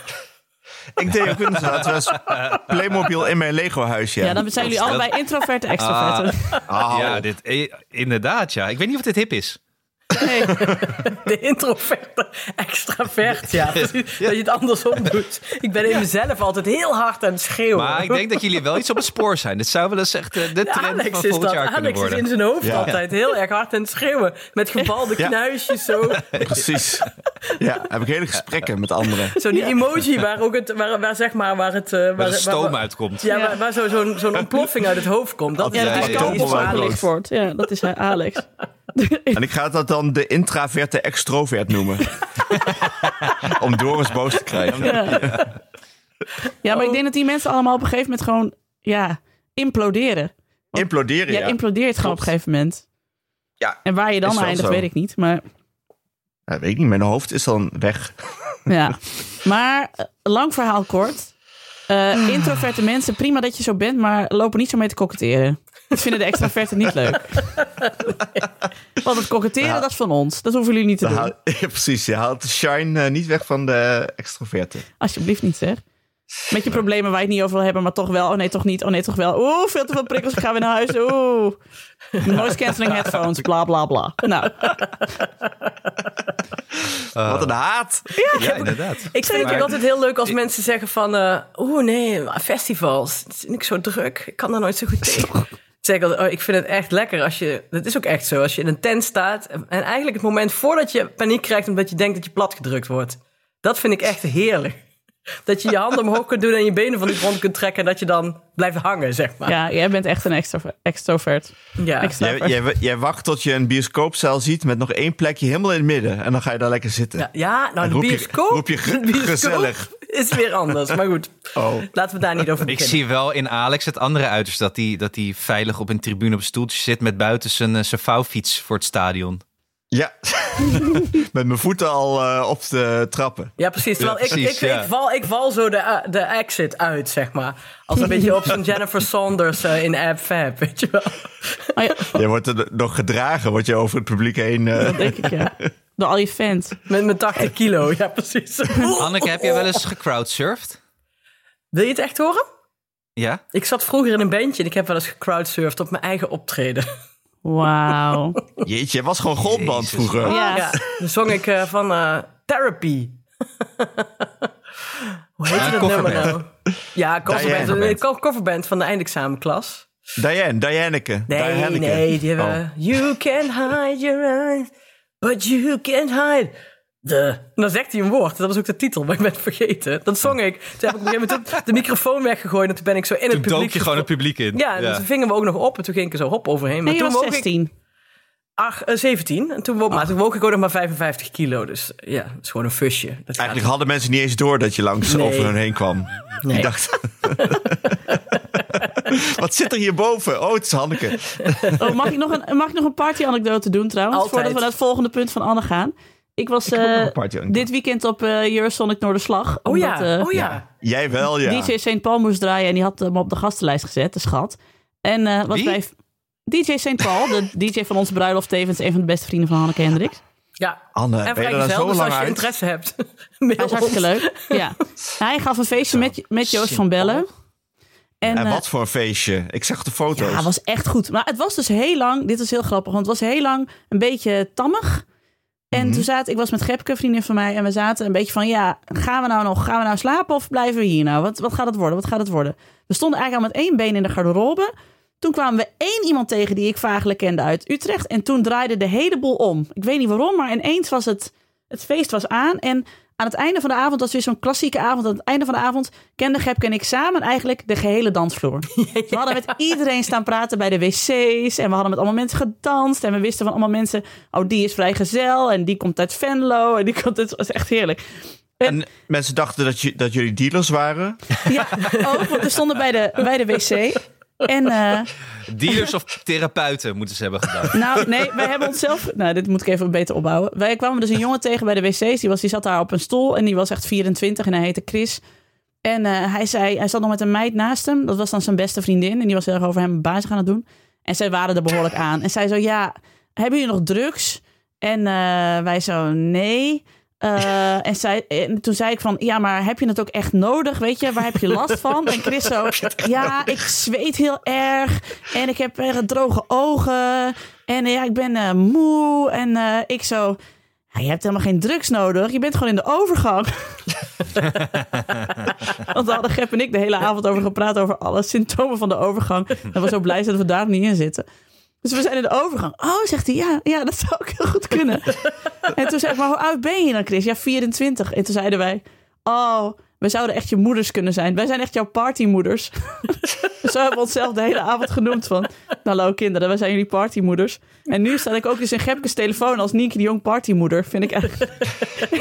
Speaker 2: Ik deed ook inderdaad wel eens Playmobil in mijn Lego-huis. Ja,
Speaker 3: Ja, dan zijn jullie
Speaker 1: Dat-
Speaker 2: [LAUGHS]
Speaker 3: allebei introvert en extrovert. [LAUGHS]
Speaker 2: Ah,
Speaker 1: Ja, dit, eh, inderdaad, ja. Ik weet niet of dit hip is.
Speaker 3: Nee.
Speaker 4: [LAUGHS] de introverte extravert, ja. precies. Dat je het andersom doet. Ik ben in mezelf altijd heel hard aan het schreeuwen.
Speaker 1: Maar ik denk dat jullie wel iets op het spoor zijn. Dit zou wel eens echt eh, de trend
Speaker 4: [LAUGHS]
Speaker 1: van
Speaker 4: Alex is
Speaker 1: volgend
Speaker 4: dat.
Speaker 1: jaar kunnen
Speaker 4: Alex is
Speaker 1: worden.
Speaker 4: in zijn hoofd
Speaker 2: Ja.
Speaker 4: altijd heel erg hard aan het schreeuwen. Met gebalde
Speaker 2: Ja.
Speaker 4: knuisjes
Speaker 1: [LAUGHS]
Speaker 4: zo.
Speaker 2: precies. Ja, heb ik hele gesprekken met anderen.
Speaker 4: Zo die emoji waar ook het, waar, waar zeg maar, waar het... eh, waar,
Speaker 1: Waar de
Speaker 4: waar-
Speaker 1: stoom
Speaker 4: waar-
Speaker 1: uitkomt.
Speaker 4: Ja, waar, waar zo- zo'n
Speaker 1: [LAUGHS]
Speaker 4: zo'n ontploffing uit het hoofd komt. Dat
Speaker 1: Ja,
Speaker 4: is
Speaker 1: dat
Speaker 4: natuurlijk
Speaker 1: is
Speaker 4: ook iets voor
Speaker 2: dobbel
Speaker 4: Alex.
Speaker 2: brood.
Speaker 3: Voort. Ja, dat is hij, Alex.
Speaker 2: En ik ga dat dan de intraverte extrovert noemen. Om Doris boos te krijgen.
Speaker 3: Ja,
Speaker 2: Oh.
Speaker 3: maar ik denk dat die mensen allemaal op een gegeven moment gewoon, ja, imploderen.
Speaker 2: Imploderen,
Speaker 3: Jij
Speaker 2: ja.
Speaker 3: implodeert gewoon op
Speaker 2: Klopt.
Speaker 3: een gegeven moment.
Speaker 2: Ja.
Speaker 3: En waar je
Speaker 2: Is
Speaker 3: dan
Speaker 2: wel
Speaker 3: eindigt,
Speaker 2: zo.
Speaker 3: weet ik niet. Maar
Speaker 2: Ja, weet ik niet, mijn hoofd is dan weg.
Speaker 3: Ja, maar eh, lang verhaal kort.
Speaker 2: Ah.
Speaker 3: Eh, introverte mensen, prima dat je zo bent, maar loop er niet zo mee te koketteren. Dat vinden de extraverten niet leuk.
Speaker 2: [LAUGHS]
Speaker 3: Want het koketteren,
Speaker 2: Nou.
Speaker 3: dat is van ons. Dat hoeven jullie niet te
Speaker 2: Dan
Speaker 3: doen.
Speaker 2: haal- [LAUGHS] Ja, precies, je haalt de shine eh, niet weg van de extroverten.
Speaker 3: Alsjeblieft niet, zeg. Met je problemen waar je het niet over wil hebben, maar toch wel. Oh nee, toch niet. Oh nee, toch wel. Oeh, veel te veel prikkels. Ik ga weer naar huis. Oeh. Noise cancelling headphones. Bla, bla, bla. Nou,
Speaker 2: Wat een haat.
Speaker 1: Ja, inderdaad.
Speaker 4: Ik vind het
Speaker 1: Maar-
Speaker 4: ook altijd heel leuk als mensen zeggen van... eh Oeh, nee, festivals. Het is niet zo druk. Ik kan daar nooit zo goed tegen. Ik Zeg, altijd, oh, ik vind het echt lekker als je... Dat is ook echt zo. Als je in een tent staat... en eigenlijk het moment voordat je paniek krijgt... omdat je denkt dat je platgedrukt wordt. Dat vind ik echt heerlijk. Dat je je handen omhoog kunt doen en je benen van de grond kunt trekken... en dat je dan blijft hangen, zeg maar.
Speaker 3: ja, jij bent echt een extro- extrovert.
Speaker 4: Ja.
Speaker 3: Extra-
Speaker 2: Jij, jij- jij wacht tot je een bioscoopzaal ziet met nog één plekje helemaal in het midden. En dan ga je daar lekker zitten.
Speaker 4: Ja, ja, nou,
Speaker 2: En
Speaker 4: de
Speaker 2: roep je-
Speaker 4: bioscoop,
Speaker 2: roep je ge-
Speaker 4: de bioscoop
Speaker 2: gezellig.
Speaker 4: is weer anders. Maar goed,
Speaker 2: Oh.
Speaker 4: laten we daar niet over
Speaker 1: Ik
Speaker 4: beginnen.
Speaker 1: zie wel in Alex het andere uiterste. Dat hij dat die veilig op een tribune op een stoeltje zit met buiten zijn, eh, zijn vouwfiets voor het stadion.
Speaker 2: Ja, [LAUGHS] met mijn voeten al eh, op de trappen.
Speaker 4: Ja, precies. Terwijl
Speaker 1: Ja,
Speaker 4: ik-
Speaker 1: precies,
Speaker 4: ik, ik,
Speaker 1: ja.
Speaker 4: val, ik val zo de, eh, de exit uit, zeg maar. Als een beetje op
Speaker 1: [LAUGHS]
Speaker 4: zo'n Jennifer Saunders eh, in Ab Fab, weet je wel. [LAUGHS]
Speaker 3: Oh ja,
Speaker 2: Je wordt er nog gedragen, word je over het publiek heen. eh,
Speaker 3: dat denk ik, ja. Door al je fans.
Speaker 4: Met mijn 80 kilo, ja,
Speaker 1: [LAUGHS]
Speaker 4: precies.
Speaker 1: Anneke, heb je wel eens gecrowdsurfd?
Speaker 4: Wil je het echt horen?
Speaker 1: Ja?
Speaker 4: Ik zat vroeger in een bandje en ik heb wel eens gecrowdsurfd op mijn eigen optreden.
Speaker 3: Wauw.
Speaker 2: Jeetje, je was gewoon
Speaker 1: Jezus.
Speaker 2: goldband vroeger.
Speaker 3: Ja.
Speaker 4: [LAUGHS] Ja, dan zong ik eh, van eh, Therapy. [LAUGHS] Hoe heet
Speaker 1: Ja,
Speaker 4: dat nummer
Speaker 1: coverband.
Speaker 4: nou? Ja, coverband.
Speaker 2: Diane.
Speaker 4: Een co- coverband van de eindexamenklas.
Speaker 2: Diane, Dianeke.
Speaker 4: Nee,
Speaker 2: Dianeke.
Speaker 4: nee, die
Speaker 2: Oh.
Speaker 4: hebben... You can hide your eyes, but you can't hide the... En dan zegt hij een woord. Dat was ook de titel, maar ik ben het vergeten. Dat zong ik. Toen heb ik op een gegeven moment de- de microfoon weggegooid... en toen ben ik zo in het
Speaker 1: Toen
Speaker 4: publiek...
Speaker 1: dook je gewoon het publiek in.
Speaker 4: gesto- Ja, en toen vingen we ook nog op en toen ging ik er zo hop overheen. Maar
Speaker 3: En je
Speaker 4: toen
Speaker 3: was
Speaker 4: woog
Speaker 3: 16.
Speaker 4: Ik, ach, eh, 17. En
Speaker 2: Ah.
Speaker 4: toen, woog, maar toen woog ik ook nog maar 55 kilo. Dus ja, dat is gewoon een fusje. Dat gaat
Speaker 2: Eigenlijk hadden mensen niet eens door dat je langs
Speaker 4: Nee.
Speaker 2: over hun heen kwam. [LAUGHS]
Speaker 4: Nee.
Speaker 2: Ik dacht... Wat zit er hierboven? Oh, het is Hanneke.
Speaker 3: Oh, mag ik nog een, mag ik nog een party-anekdote doen trouwens?
Speaker 4: Altijd.
Speaker 3: Voordat we naar het volgende punt van Anne gaan. Ik was eh,
Speaker 2: nog een party-anekdote.
Speaker 3: dit weekend op eh Eurosonic Noorderslag.
Speaker 4: Oh ja,
Speaker 3: omdat, eh,
Speaker 4: oh ja.
Speaker 2: Jij wel, ja.
Speaker 3: DJ St. Paul moest draaien en die had hem op de gastenlijst gezet, de schat. En eh, wat
Speaker 1: Wie?
Speaker 3: wij... DJ St. Paul, de [LAUGHS] DJ van onze bruiloft, tevens een van de beste vrienden van Hanneke Hendricks.
Speaker 4: Ja.
Speaker 2: Anne,
Speaker 4: En
Speaker 2: ben je er dan
Speaker 4: vrijgezel,
Speaker 2: zo
Speaker 4: dus
Speaker 2: lang
Speaker 4: als je
Speaker 2: uit?
Speaker 4: interesse hebt. [LAUGHS]
Speaker 3: Hij is hartstikke leuk. Ja. Hij gaf een feestje met, met Joost van Bellen. En,
Speaker 2: En
Speaker 3: eh,
Speaker 2: wat voor een feestje. Ik zag de foto's.
Speaker 3: Ja, het was echt goed. Maar het was dus heel lang. Dit is heel grappig, want het was heel lang een beetje tammig. En toen zaten, ik was met Gepke, vriendin van mij, en we zaten een beetje van, ja, gaan we nou nog, gaan we nou slapen of blijven we hier nou? Wat, wat gaat het worden? Wat gaat het worden? We stonden eigenlijk al met één been in de garderobe. Toen kwamen we één iemand tegen die ik vaaglijk kende uit Utrecht. En toen draaide de hele boel om. Ik weet niet waarom, maar ineens was het, het feest was aan. En aan het einde van de avond, dat was weer zo'n klassieke avond. Aan het einde van de avond kende Gepke en ik samen eigenlijk de gehele dansvloer. We hadden met iedereen staan praten bij de wc's. En we hadden met allemaal mensen gedanst. En we wisten van allemaal mensen, oh die is vrijgezel. En die komt uit Venlo. En die komt uit, het was echt heerlijk.
Speaker 2: En mensen dachten dat, je, dat jullie dealers waren.
Speaker 3: Ja, ook, want we stonden bij de, bij de wc. En eh,
Speaker 1: Dealers of therapeuten moeten ze hebben gedaan.
Speaker 3: Nou, nee, wij hebben onszelf. Nou, dit moet ik even beter opbouwen. Wij kwamen dus een jongen tegen bij de wc's. Die, was, die zat daar op een stoel en die was echt 24 en hij heette Chris. En eh, hij zei, hij zat nog met een meid naast hem. Dat was dan zijn beste vriendin. En die was heel erg over hem bazig aan het doen. En zij waren er behoorlijk aan. En zij zo, ja, hebben jullie nog drugs? En eh, wij zo, nee. Eh, en, zij, en toen zei ik van, ja, maar heb je het ook echt nodig? Weet je, waar heb je last van? En Chris zo, ja, ik zweet heel erg. En ik heb echt droge ogen. En eh, ja, ik ben eh, moe. En eh, ik zo, ja, je hebt helemaal geen drugs nodig. Je bent gewoon in de overgang. Want daar hadden Gep en ik de hele avond over gepraat. Over alle symptomen van de overgang. En was zo blij zijn dat we daar niet in zitten. Dus we zijn in de overgang. Oh, zegt hij, ja, ja dat zou ook heel goed kunnen. en toen zei ik, maar hoe oud ben je dan, Chris? Ja, 24. En toen zeiden wij, oh, we zouden echt je moeders kunnen zijn. Wij zijn echt jouw partymoeders. [LAUGHS] Zo hebben we onszelf de hele avond genoemd van... Hallo kinderen, wij zijn jullie partymoeders. En nu sta ik ook dus in Gepkes telefoon als Nienke de Jong partymoeder. Vind ik echt... [LAUGHS] dat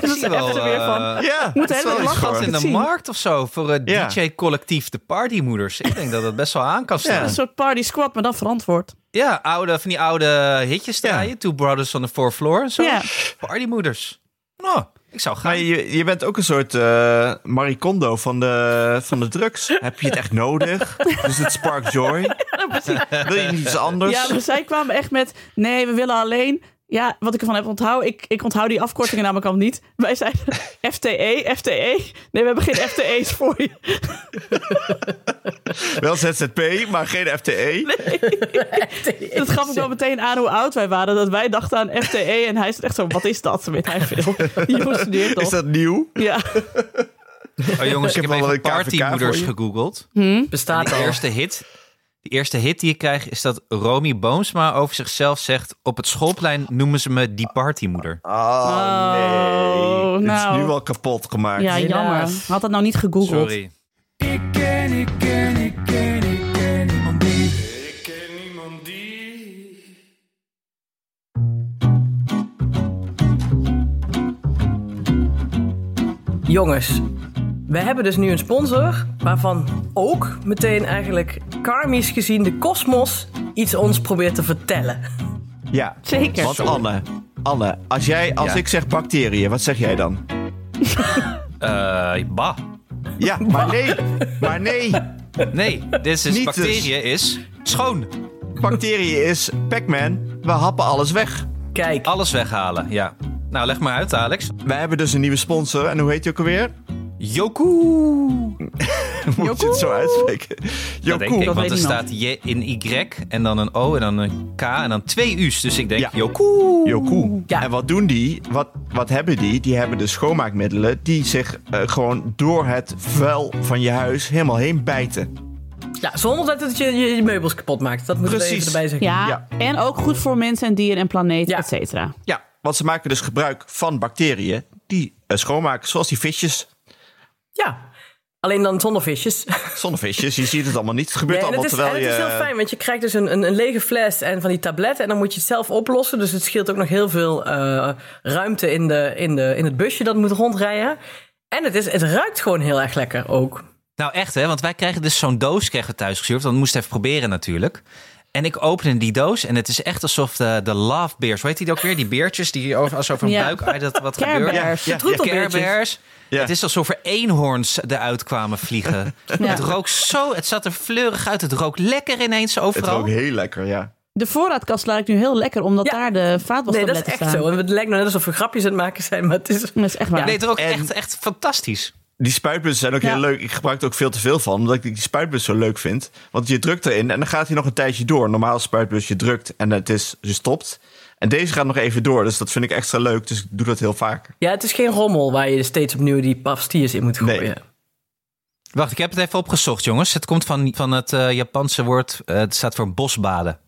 Speaker 3: is
Speaker 1: zie wel,
Speaker 3: echt er weer van...
Speaker 1: eh,
Speaker 2: Ja,
Speaker 3: Moet de hele
Speaker 2: zo
Speaker 3: dag
Speaker 2: is
Speaker 3: lachen.
Speaker 2: gewoon.
Speaker 1: in de
Speaker 3: zien.
Speaker 1: markt of zo voor eh, het
Speaker 2: Ja.
Speaker 1: DJ-collectief de partymoeders. Ik denk dat dat best wel aan kan staan.
Speaker 3: Een
Speaker 1: Ja,
Speaker 3: soort party squad, maar dan verantwoord.
Speaker 1: oude, van die oude hitjes draaien. Two Brothers on the Fourth Floor en zo.
Speaker 3: Ja.
Speaker 1: Partymoeders. Nou, ik zou gaan.
Speaker 2: Maar je, je bent ook een soort eh maricondo van de, van de drugs. Heb je het echt
Speaker 4: [LAUGHS]
Speaker 2: nodig? Dus het spark joy. Wil je niet iets anders?
Speaker 3: Ja, maar zij kwamen echt met... Nee, we willen alleen... Ja, wat ik ervan heb onthouden... Ik, ik onthoud die afkortingen namelijk al niet. Wij zijn E, FTE, FTE. Nee, we hebben geen FTE's voor je.
Speaker 2: Wel ZZP, maar geen E. FTE.
Speaker 3: Dat gaf ik wel meteen aan hoe oud wij waren. Dat wij dachten aan FTE. En hij is echt zo, wat is dat? Weet hij veel. Je studeert
Speaker 2: Is
Speaker 3: toch?
Speaker 2: dat nieuw?
Speaker 3: Ja.
Speaker 1: Oh jongens, ik
Speaker 2: Ik
Speaker 1: heb
Speaker 2: heb al
Speaker 1: even
Speaker 2: een KVK voor
Speaker 1: partymoeders
Speaker 2: je.
Speaker 1: gegoogeld.
Speaker 4: Bestaat
Speaker 1: De
Speaker 4: al.
Speaker 1: eerste hit. De eerste hit die ik krijg is dat Romy Boomsma over zichzelf zegt... op het schoolplein noemen ze me die partymoeder.
Speaker 2: Oh,
Speaker 3: Oh,
Speaker 2: nee. Het
Speaker 3: nou.
Speaker 2: is nu al kapot gemaakt.
Speaker 3: Ja,
Speaker 4: Helaas.
Speaker 3: jammer. Had dat nou niet gegoogeld.
Speaker 1: Sorry.
Speaker 5: Ik ken, ik ken, ik ken, ik ken niemand die.
Speaker 4: Jongens, we hebben dus nu een sponsor waarvan ook meteen eigenlijk karmisch gezien de kosmos iets ons probeert te vertellen.
Speaker 2: Ja.
Speaker 3: Zeker.
Speaker 2: Want Anne, Anne, als, jij, als
Speaker 1: Ja.
Speaker 2: ik zeg bacteriën, wat zeg jij dan?
Speaker 1: Eh, bah.
Speaker 2: Ja, maar nee, maar nee.
Speaker 1: Nee, dit is
Speaker 2: Niet dus.
Speaker 1: bacteriën is schoon.
Speaker 2: Bacteriën is Pac-Man. We happen alles weg.
Speaker 4: Kijk,
Speaker 2: Ah.
Speaker 1: Alles weghalen, ja. Nou, leg maar uit, Alex.
Speaker 2: Wij hebben dus een nieuwe sponsor. En hoe heet die ook alweer? [LAUGHS]
Speaker 1: Yoku.
Speaker 2: Moet je het zo uitspreken?
Speaker 1: Dat denk ik,
Speaker 2: Jokoe.
Speaker 3: Dat
Speaker 1: want
Speaker 3: weet
Speaker 1: er
Speaker 3: niemand.
Speaker 1: staat J in Y en dan een O en dan een K en dan twee U's. Dus ik denk,
Speaker 2: Ja.
Speaker 1: Yoku.
Speaker 2: Jokoe.
Speaker 4: Ja.
Speaker 2: En wat doen die? Wat, wat hebben die? Die hebben dus schoonmaakmiddelen die zich eh, gewoon door het vuil van je huis helemaal heen bijten.
Speaker 4: ja, zonder dat het je, je, je meubels kapot maakt. Dat moeten we
Speaker 2: Precies.
Speaker 4: even erbij zeggen.
Speaker 3: Ja,
Speaker 2: Ja.
Speaker 3: en ook goed voor mensen en dieren en planeet,
Speaker 4: Ja.
Speaker 3: et cetera.
Speaker 2: Ja, want ze maken dus gebruik van bacteriën die eh, schoonmaken, zoals die visjes.
Speaker 4: Ja, alleen dan zonder visjes.
Speaker 2: Zonnevisjes, je ziet het allemaal niet. Het gebeurt
Speaker 4: Nee, en het,
Speaker 2: allemaal
Speaker 4: is, en
Speaker 2: terwijl
Speaker 4: het
Speaker 2: je...
Speaker 4: is heel fijn, want je krijgt dus een, een, een lege fles en van die tabletten. En dan moet je het zelf oplossen. Dus het scheelt ook nog heel veel eh, ruimte in, de, in, de, in het busje dat moet rondrijden. En het, is, het ruikt gewoon heel erg lekker ook.
Speaker 1: Nou echt hè, want wij kregen dus zo'n doos kregen we thuis gestuurd. Want we moesten even proberen natuurlijk. En ik opende die doos en het is echt alsof de, de love beers, hoe heet die ook weer? Die beertjes die hier over, als over een
Speaker 3: Ja.
Speaker 1: buik uit dat wat
Speaker 3: Care
Speaker 1: gebeurt.
Speaker 3: Bears.
Speaker 1: Ja,
Speaker 4: De troetelbeertjes.
Speaker 1: Care Bears.
Speaker 2: Ja.
Speaker 1: Het is alsof er eenhoorns eruit kwamen
Speaker 4: [LAUGHS]
Speaker 1: vliegen. Het rook zo, het zat er fleurig uit. Het rook lekker ineens
Speaker 2: eh, Het
Speaker 1: overal.
Speaker 2: rookt heel lekker, ja.
Speaker 3: De voorraadkast laat ik nu heel lekker, omdat
Speaker 4: Ja.
Speaker 3: daar de
Speaker 4: Nee, dat
Speaker 3: vaatwastabletten
Speaker 4: is echt
Speaker 3: staan.
Speaker 4: zo. En het lijkt nou net alsof we grapjes aan het maken zijn, maar het is...
Speaker 3: Dat is echt waar.
Speaker 1: Nee, het rook
Speaker 2: En-
Speaker 1: echt, echt fantastisch.
Speaker 2: die spuitbussen zijn ook
Speaker 3: Ja.
Speaker 2: heel leuk. Ik gebruik er ook veel te veel van, omdat ik die spuitbus zo leuk vind. Want je drukt erin en dan gaat hij nog een tijdje door. Normaal spuitbus, je drukt en het is, je stopt. En deze gaat nog even door, dus dat vind ik extra leuk. Dus ik doe dat heel vaak.
Speaker 4: Ja, het is geen rommel waar je steeds opnieuw die pastiers in moet gooien.
Speaker 2: Nee.
Speaker 1: Wacht, ik heb het even opgezocht, jongens. Het komt van, van het eh, Japanse woord, eh, het staat voor bosbaden.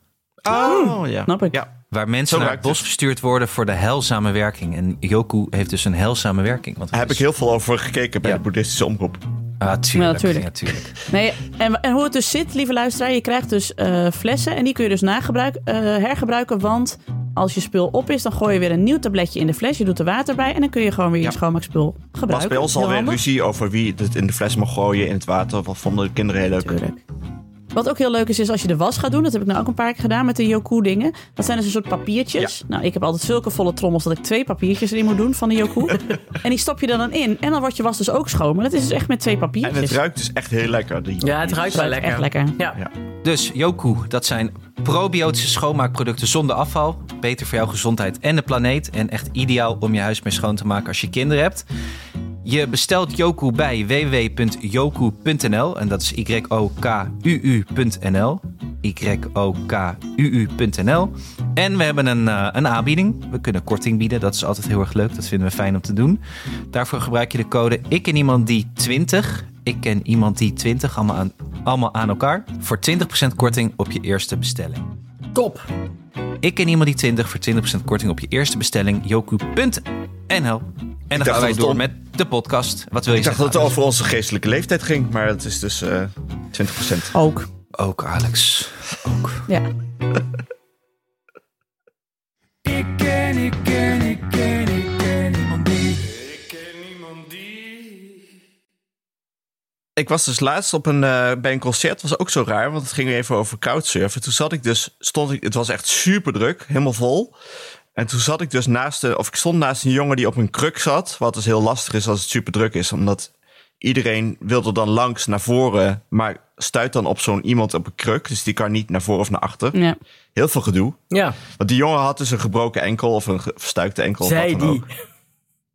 Speaker 2: Oh, ja.
Speaker 4: Nou,
Speaker 3: Snap ik.
Speaker 2: Ja.
Speaker 1: Waar mensen
Speaker 2: Zo
Speaker 1: naar het
Speaker 2: werkt
Speaker 1: bos
Speaker 2: het.
Speaker 1: verstuurd worden voor de heilzame werking. En Yoku heeft dus een heilzame werking. Want
Speaker 2: Daar heb ik
Speaker 4: dus-
Speaker 2: heel veel over gekeken bij
Speaker 1: Ja.
Speaker 2: de boeddhistische omroep.
Speaker 1: Ah, tuurlijk.
Speaker 3: Ja, tuurlijk.
Speaker 1: Ja, tuurlijk.
Speaker 3: Nee, en, en hoe het dus zit, lieve luisteraar, je krijgt dus eh, flessen en die kun je dus nagebruik, eh, hergebruiken. Want als je spul op is, dan gooi je weer een nieuw tabletje in de fles. Je doet er water bij en dan kun je gewoon weer je schoonmaakspul gebruiken.
Speaker 2: was bij ons
Speaker 3: Heel
Speaker 2: alweer
Speaker 3: handig.
Speaker 2: ruzie over wie het in de fles mag gooien in het water. Wat vonden de kinderen heel leuk.
Speaker 3: Tuurlijk. Wat ook heel leuk is, is als je de was gaat doen. Dat heb ik nou ook een paar keer gedaan met de Yoku dingen. Dat zijn dus een soort papiertjes. Nou, ik heb altijd zulke volle trommels dat ik twee papiertjes erin moet doen van de
Speaker 2: [LAUGHS]
Speaker 3: Yoku. en die stop je er dan in. En dan wordt je was dus ook schoon. Maar dat is dus echt met twee
Speaker 2: En
Speaker 3: papiertjes.
Speaker 2: het ruikt dus echt heel lekker. Die-
Speaker 4: Ja, het ruikt wel
Speaker 3: ruikt
Speaker 4: lekker.
Speaker 3: echt lekker.
Speaker 4: Ja.
Speaker 2: Ja.
Speaker 1: Dus Yoku, dat zijn probiotische schoonmaakproducten zonder afval. Beter voor jouw gezondheid en de planeet. En echt ideaal om je huis mee schoon te maken als je kinderen hebt. Je bestelt Yoku bij www.yoku.nl. En dat is Y-O-K-U-U.nl. Y-O-K-U-U.nl. En we hebben een, eh, een aanbieding. We kunnen korting bieden. Dat is altijd heel erg leuk. Dat vinden we fijn om te doen. Daarvoor gebruik je de code Ik en iemand die 20. Ik ken iemand die 20. Allemaal aan, allemaal aan elkaar. Voor 20% korting op je eerste bestelling.
Speaker 4: Top.
Speaker 1: Ik ken iemand die 20 voor 20% korting op je eerste bestelling. Yoku.nl. En dan
Speaker 2: dacht
Speaker 1: gaan wij
Speaker 2: dat het
Speaker 1: door
Speaker 2: om-
Speaker 1: met de podcast. Wat wil je
Speaker 2: Ik dacht
Speaker 1: zeggen?
Speaker 2: dat het
Speaker 1: Alex?
Speaker 2: over onze geestelijke leeftijd ging, maar het is dus eh 20%.
Speaker 3: Ook.
Speaker 1: Ook Alex. Ook.
Speaker 3: Ja.
Speaker 5: Ik ken, ik ken, ik ken, ik ken niemand die. Ik ken niemand die.
Speaker 2: Ik was dus laatst op een, eh, bij een concert. was ook zo raar, want het ging weer even over crowdsurfen. Toen zat ik dus, stond ik, het was echt super druk, helemaal vol. En toen zat ik dus naast, de, of ik stond naast een jongen die op een kruk zat. Wat dus heel lastig is als het super druk is, omdat iedereen wil er dan langs naar voren. Maar stuit dan op zo'n iemand op een kruk. Dus die kan niet naar voren of naar achter.
Speaker 3: ja.
Speaker 2: Heel veel gedoe.
Speaker 4: Ja,
Speaker 2: Want die jongen had dus een gebroken enkel of een ge- verstuikte enkel. of
Speaker 4: zij
Speaker 2: wat dan
Speaker 4: die.
Speaker 2: ook.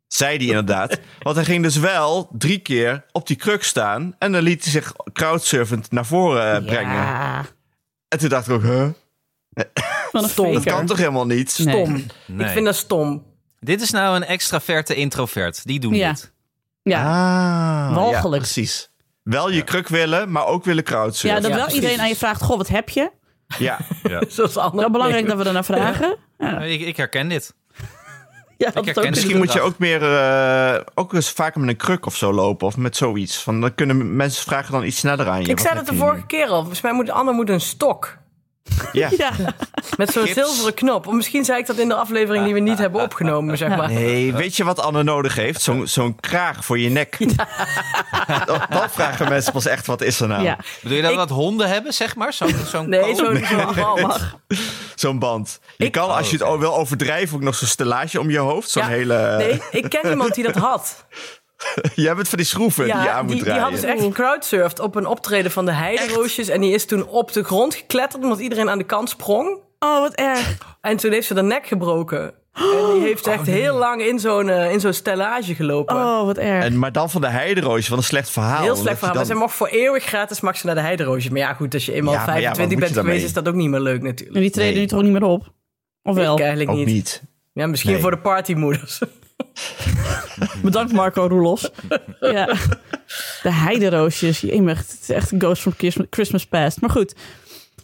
Speaker 2: Zei die inderdaad. Want hij ging dus wel drie keer op die kruk staan. En dan liet hij zich crowdsurfend naar voren eh, brengen.
Speaker 3: Ja.
Speaker 2: En toen dacht ik ook, huh?
Speaker 3: Wat een
Speaker 4: Stom.
Speaker 2: Dat
Speaker 3: faker.
Speaker 2: kan toch helemaal niet?
Speaker 3: Nee.
Speaker 4: Stom.
Speaker 1: Nee.
Speaker 4: Ik vind dat stom. [LAUGHS]
Speaker 1: Dit is nou een extraverte introvert. Die doen
Speaker 3: Ja.
Speaker 1: dit.
Speaker 3: Ja.
Speaker 2: Ah,
Speaker 3: Walgelijk.
Speaker 2: ja, precies. Wel je kruk willen, maar ook willen
Speaker 3: ja,
Speaker 2: crowdsurfen.
Speaker 3: dat
Speaker 4: Ja,
Speaker 3: wel
Speaker 4: precies.
Speaker 3: iedereen aan je vraagt, goh, wat heb je?
Speaker 2: Ja.
Speaker 4: Zoals anderen.
Speaker 3: Wel belangrijk dat we ernaar vragen. Ja,
Speaker 1: Nou, Ik, ik herken dit.
Speaker 3: ja dat
Speaker 1: herken
Speaker 3: ook.
Speaker 1: het.
Speaker 2: Misschien moet je ook meer, eh, ook eens vaker met een kruk of zo lopen. Of met zoiets. Van, dan kunnen mensen vragen dan iets sneller aan je.
Speaker 4: Ik
Speaker 2: Wat
Speaker 4: zei
Speaker 2: heb
Speaker 4: dat de
Speaker 2: je
Speaker 4: vorige keer al. Volgens mij moet Anne moet een stok.
Speaker 2: nu? Ja.
Speaker 3: Ja.
Speaker 4: Met zo'n
Speaker 2: Gips.
Speaker 4: zilveren knop. Of misschien zei ik dat in de aflevering die we niet hebben opgenomen, zeg maar.
Speaker 2: Nee, weet je wat Anne nodig heeft? Zo'n zo'n kraag voor je nek.
Speaker 4: [LAUGHS]
Speaker 2: [LAUGHS] Dan, dan vragen mensen pas echt, wat is er nou?
Speaker 3: ja.
Speaker 1: Bedoel je dat
Speaker 4: Ik-
Speaker 1: dat honden hebben, zeg maar? Zo'n
Speaker 3: [LAUGHS]
Speaker 1: zo'n
Speaker 4: Nee,
Speaker 2: Oh.
Speaker 1: kool?
Speaker 2: [LAUGHS]
Speaker 4: zo'n zo'n galmag.
Speaker 2: Zo'n band. Je
Speaker 4: Ik-
Speaker 2: kan, als
Speaker 1: Oh,
Speaker 2: je het ook wil overdrijven, ook nog zo'n stellage om je hoofd. Zo'n
Speaker 4: Ja,
Speaker 2: hele... [LAUGHS]
Speaker 4: Nee, ik ken iemand die dat had.
Speaker 2: Jij bent van die schroeven die je
Speaker 4: Ja,
Speaker 2: aan moet
Speaker 4: die, die
Speaker 2: draaien.
Speaker 4: had dus echt gecrowdsurfd op een optreden van de Heideroosjes. En die is toen op de grond gekletterd omdat iedereen aan de kant sprong.
Speaker 3: Oh, wat erg.
Speaker 4: En toen heeft ze haar nek gebroken. En die
Speaker 3: [GASPS]
Speaker 4: heeft echt heel lang in zo'n eh, in zo'n stellage gelopen.
Speaker 3: Oh, wat erg.
Speaker 2: en, maar dan van de heideroosje, van een slecht verhaal.
Speaker 4: Heel
Speaker 2: Oh, Omdat
Speaker 4: slecht
Speaker 2: je
Speaker 4: verhaal. Maar
Speaker 2: dan-
Speaker 4: ze mocht voor eeuwig gratis mag ze naar de Heideroosje. Maar ja, goed, als je eenmaal
Speaker 2: Ja, maar ja, wat
Speaker 4: 25
Speaker 2: moet je
Speaker 4: bent geweest,
Speaker 2: daarmee?
Speaker 4: is dat ook niet meer leuk natuurlijk.
Speaker 3: En die treden
Speaker 2: Nee.
Speaker 3: nu toch niet meer op? Of wel?
Speaker 4: Ik eigenlijk
Speaker 2: Ook
Speaker 4: niet.
Speaker 2: niet.
Speaker 4: Ja, misschien
Speaker 2: Nee.
Speaker 4: voor de partymoeders.
Speaker 3: Bedankt Marco Roelos. ja. De heideroosjes, jemig. Het is echt een ghost from Christmas- Christmas past. Maar goed,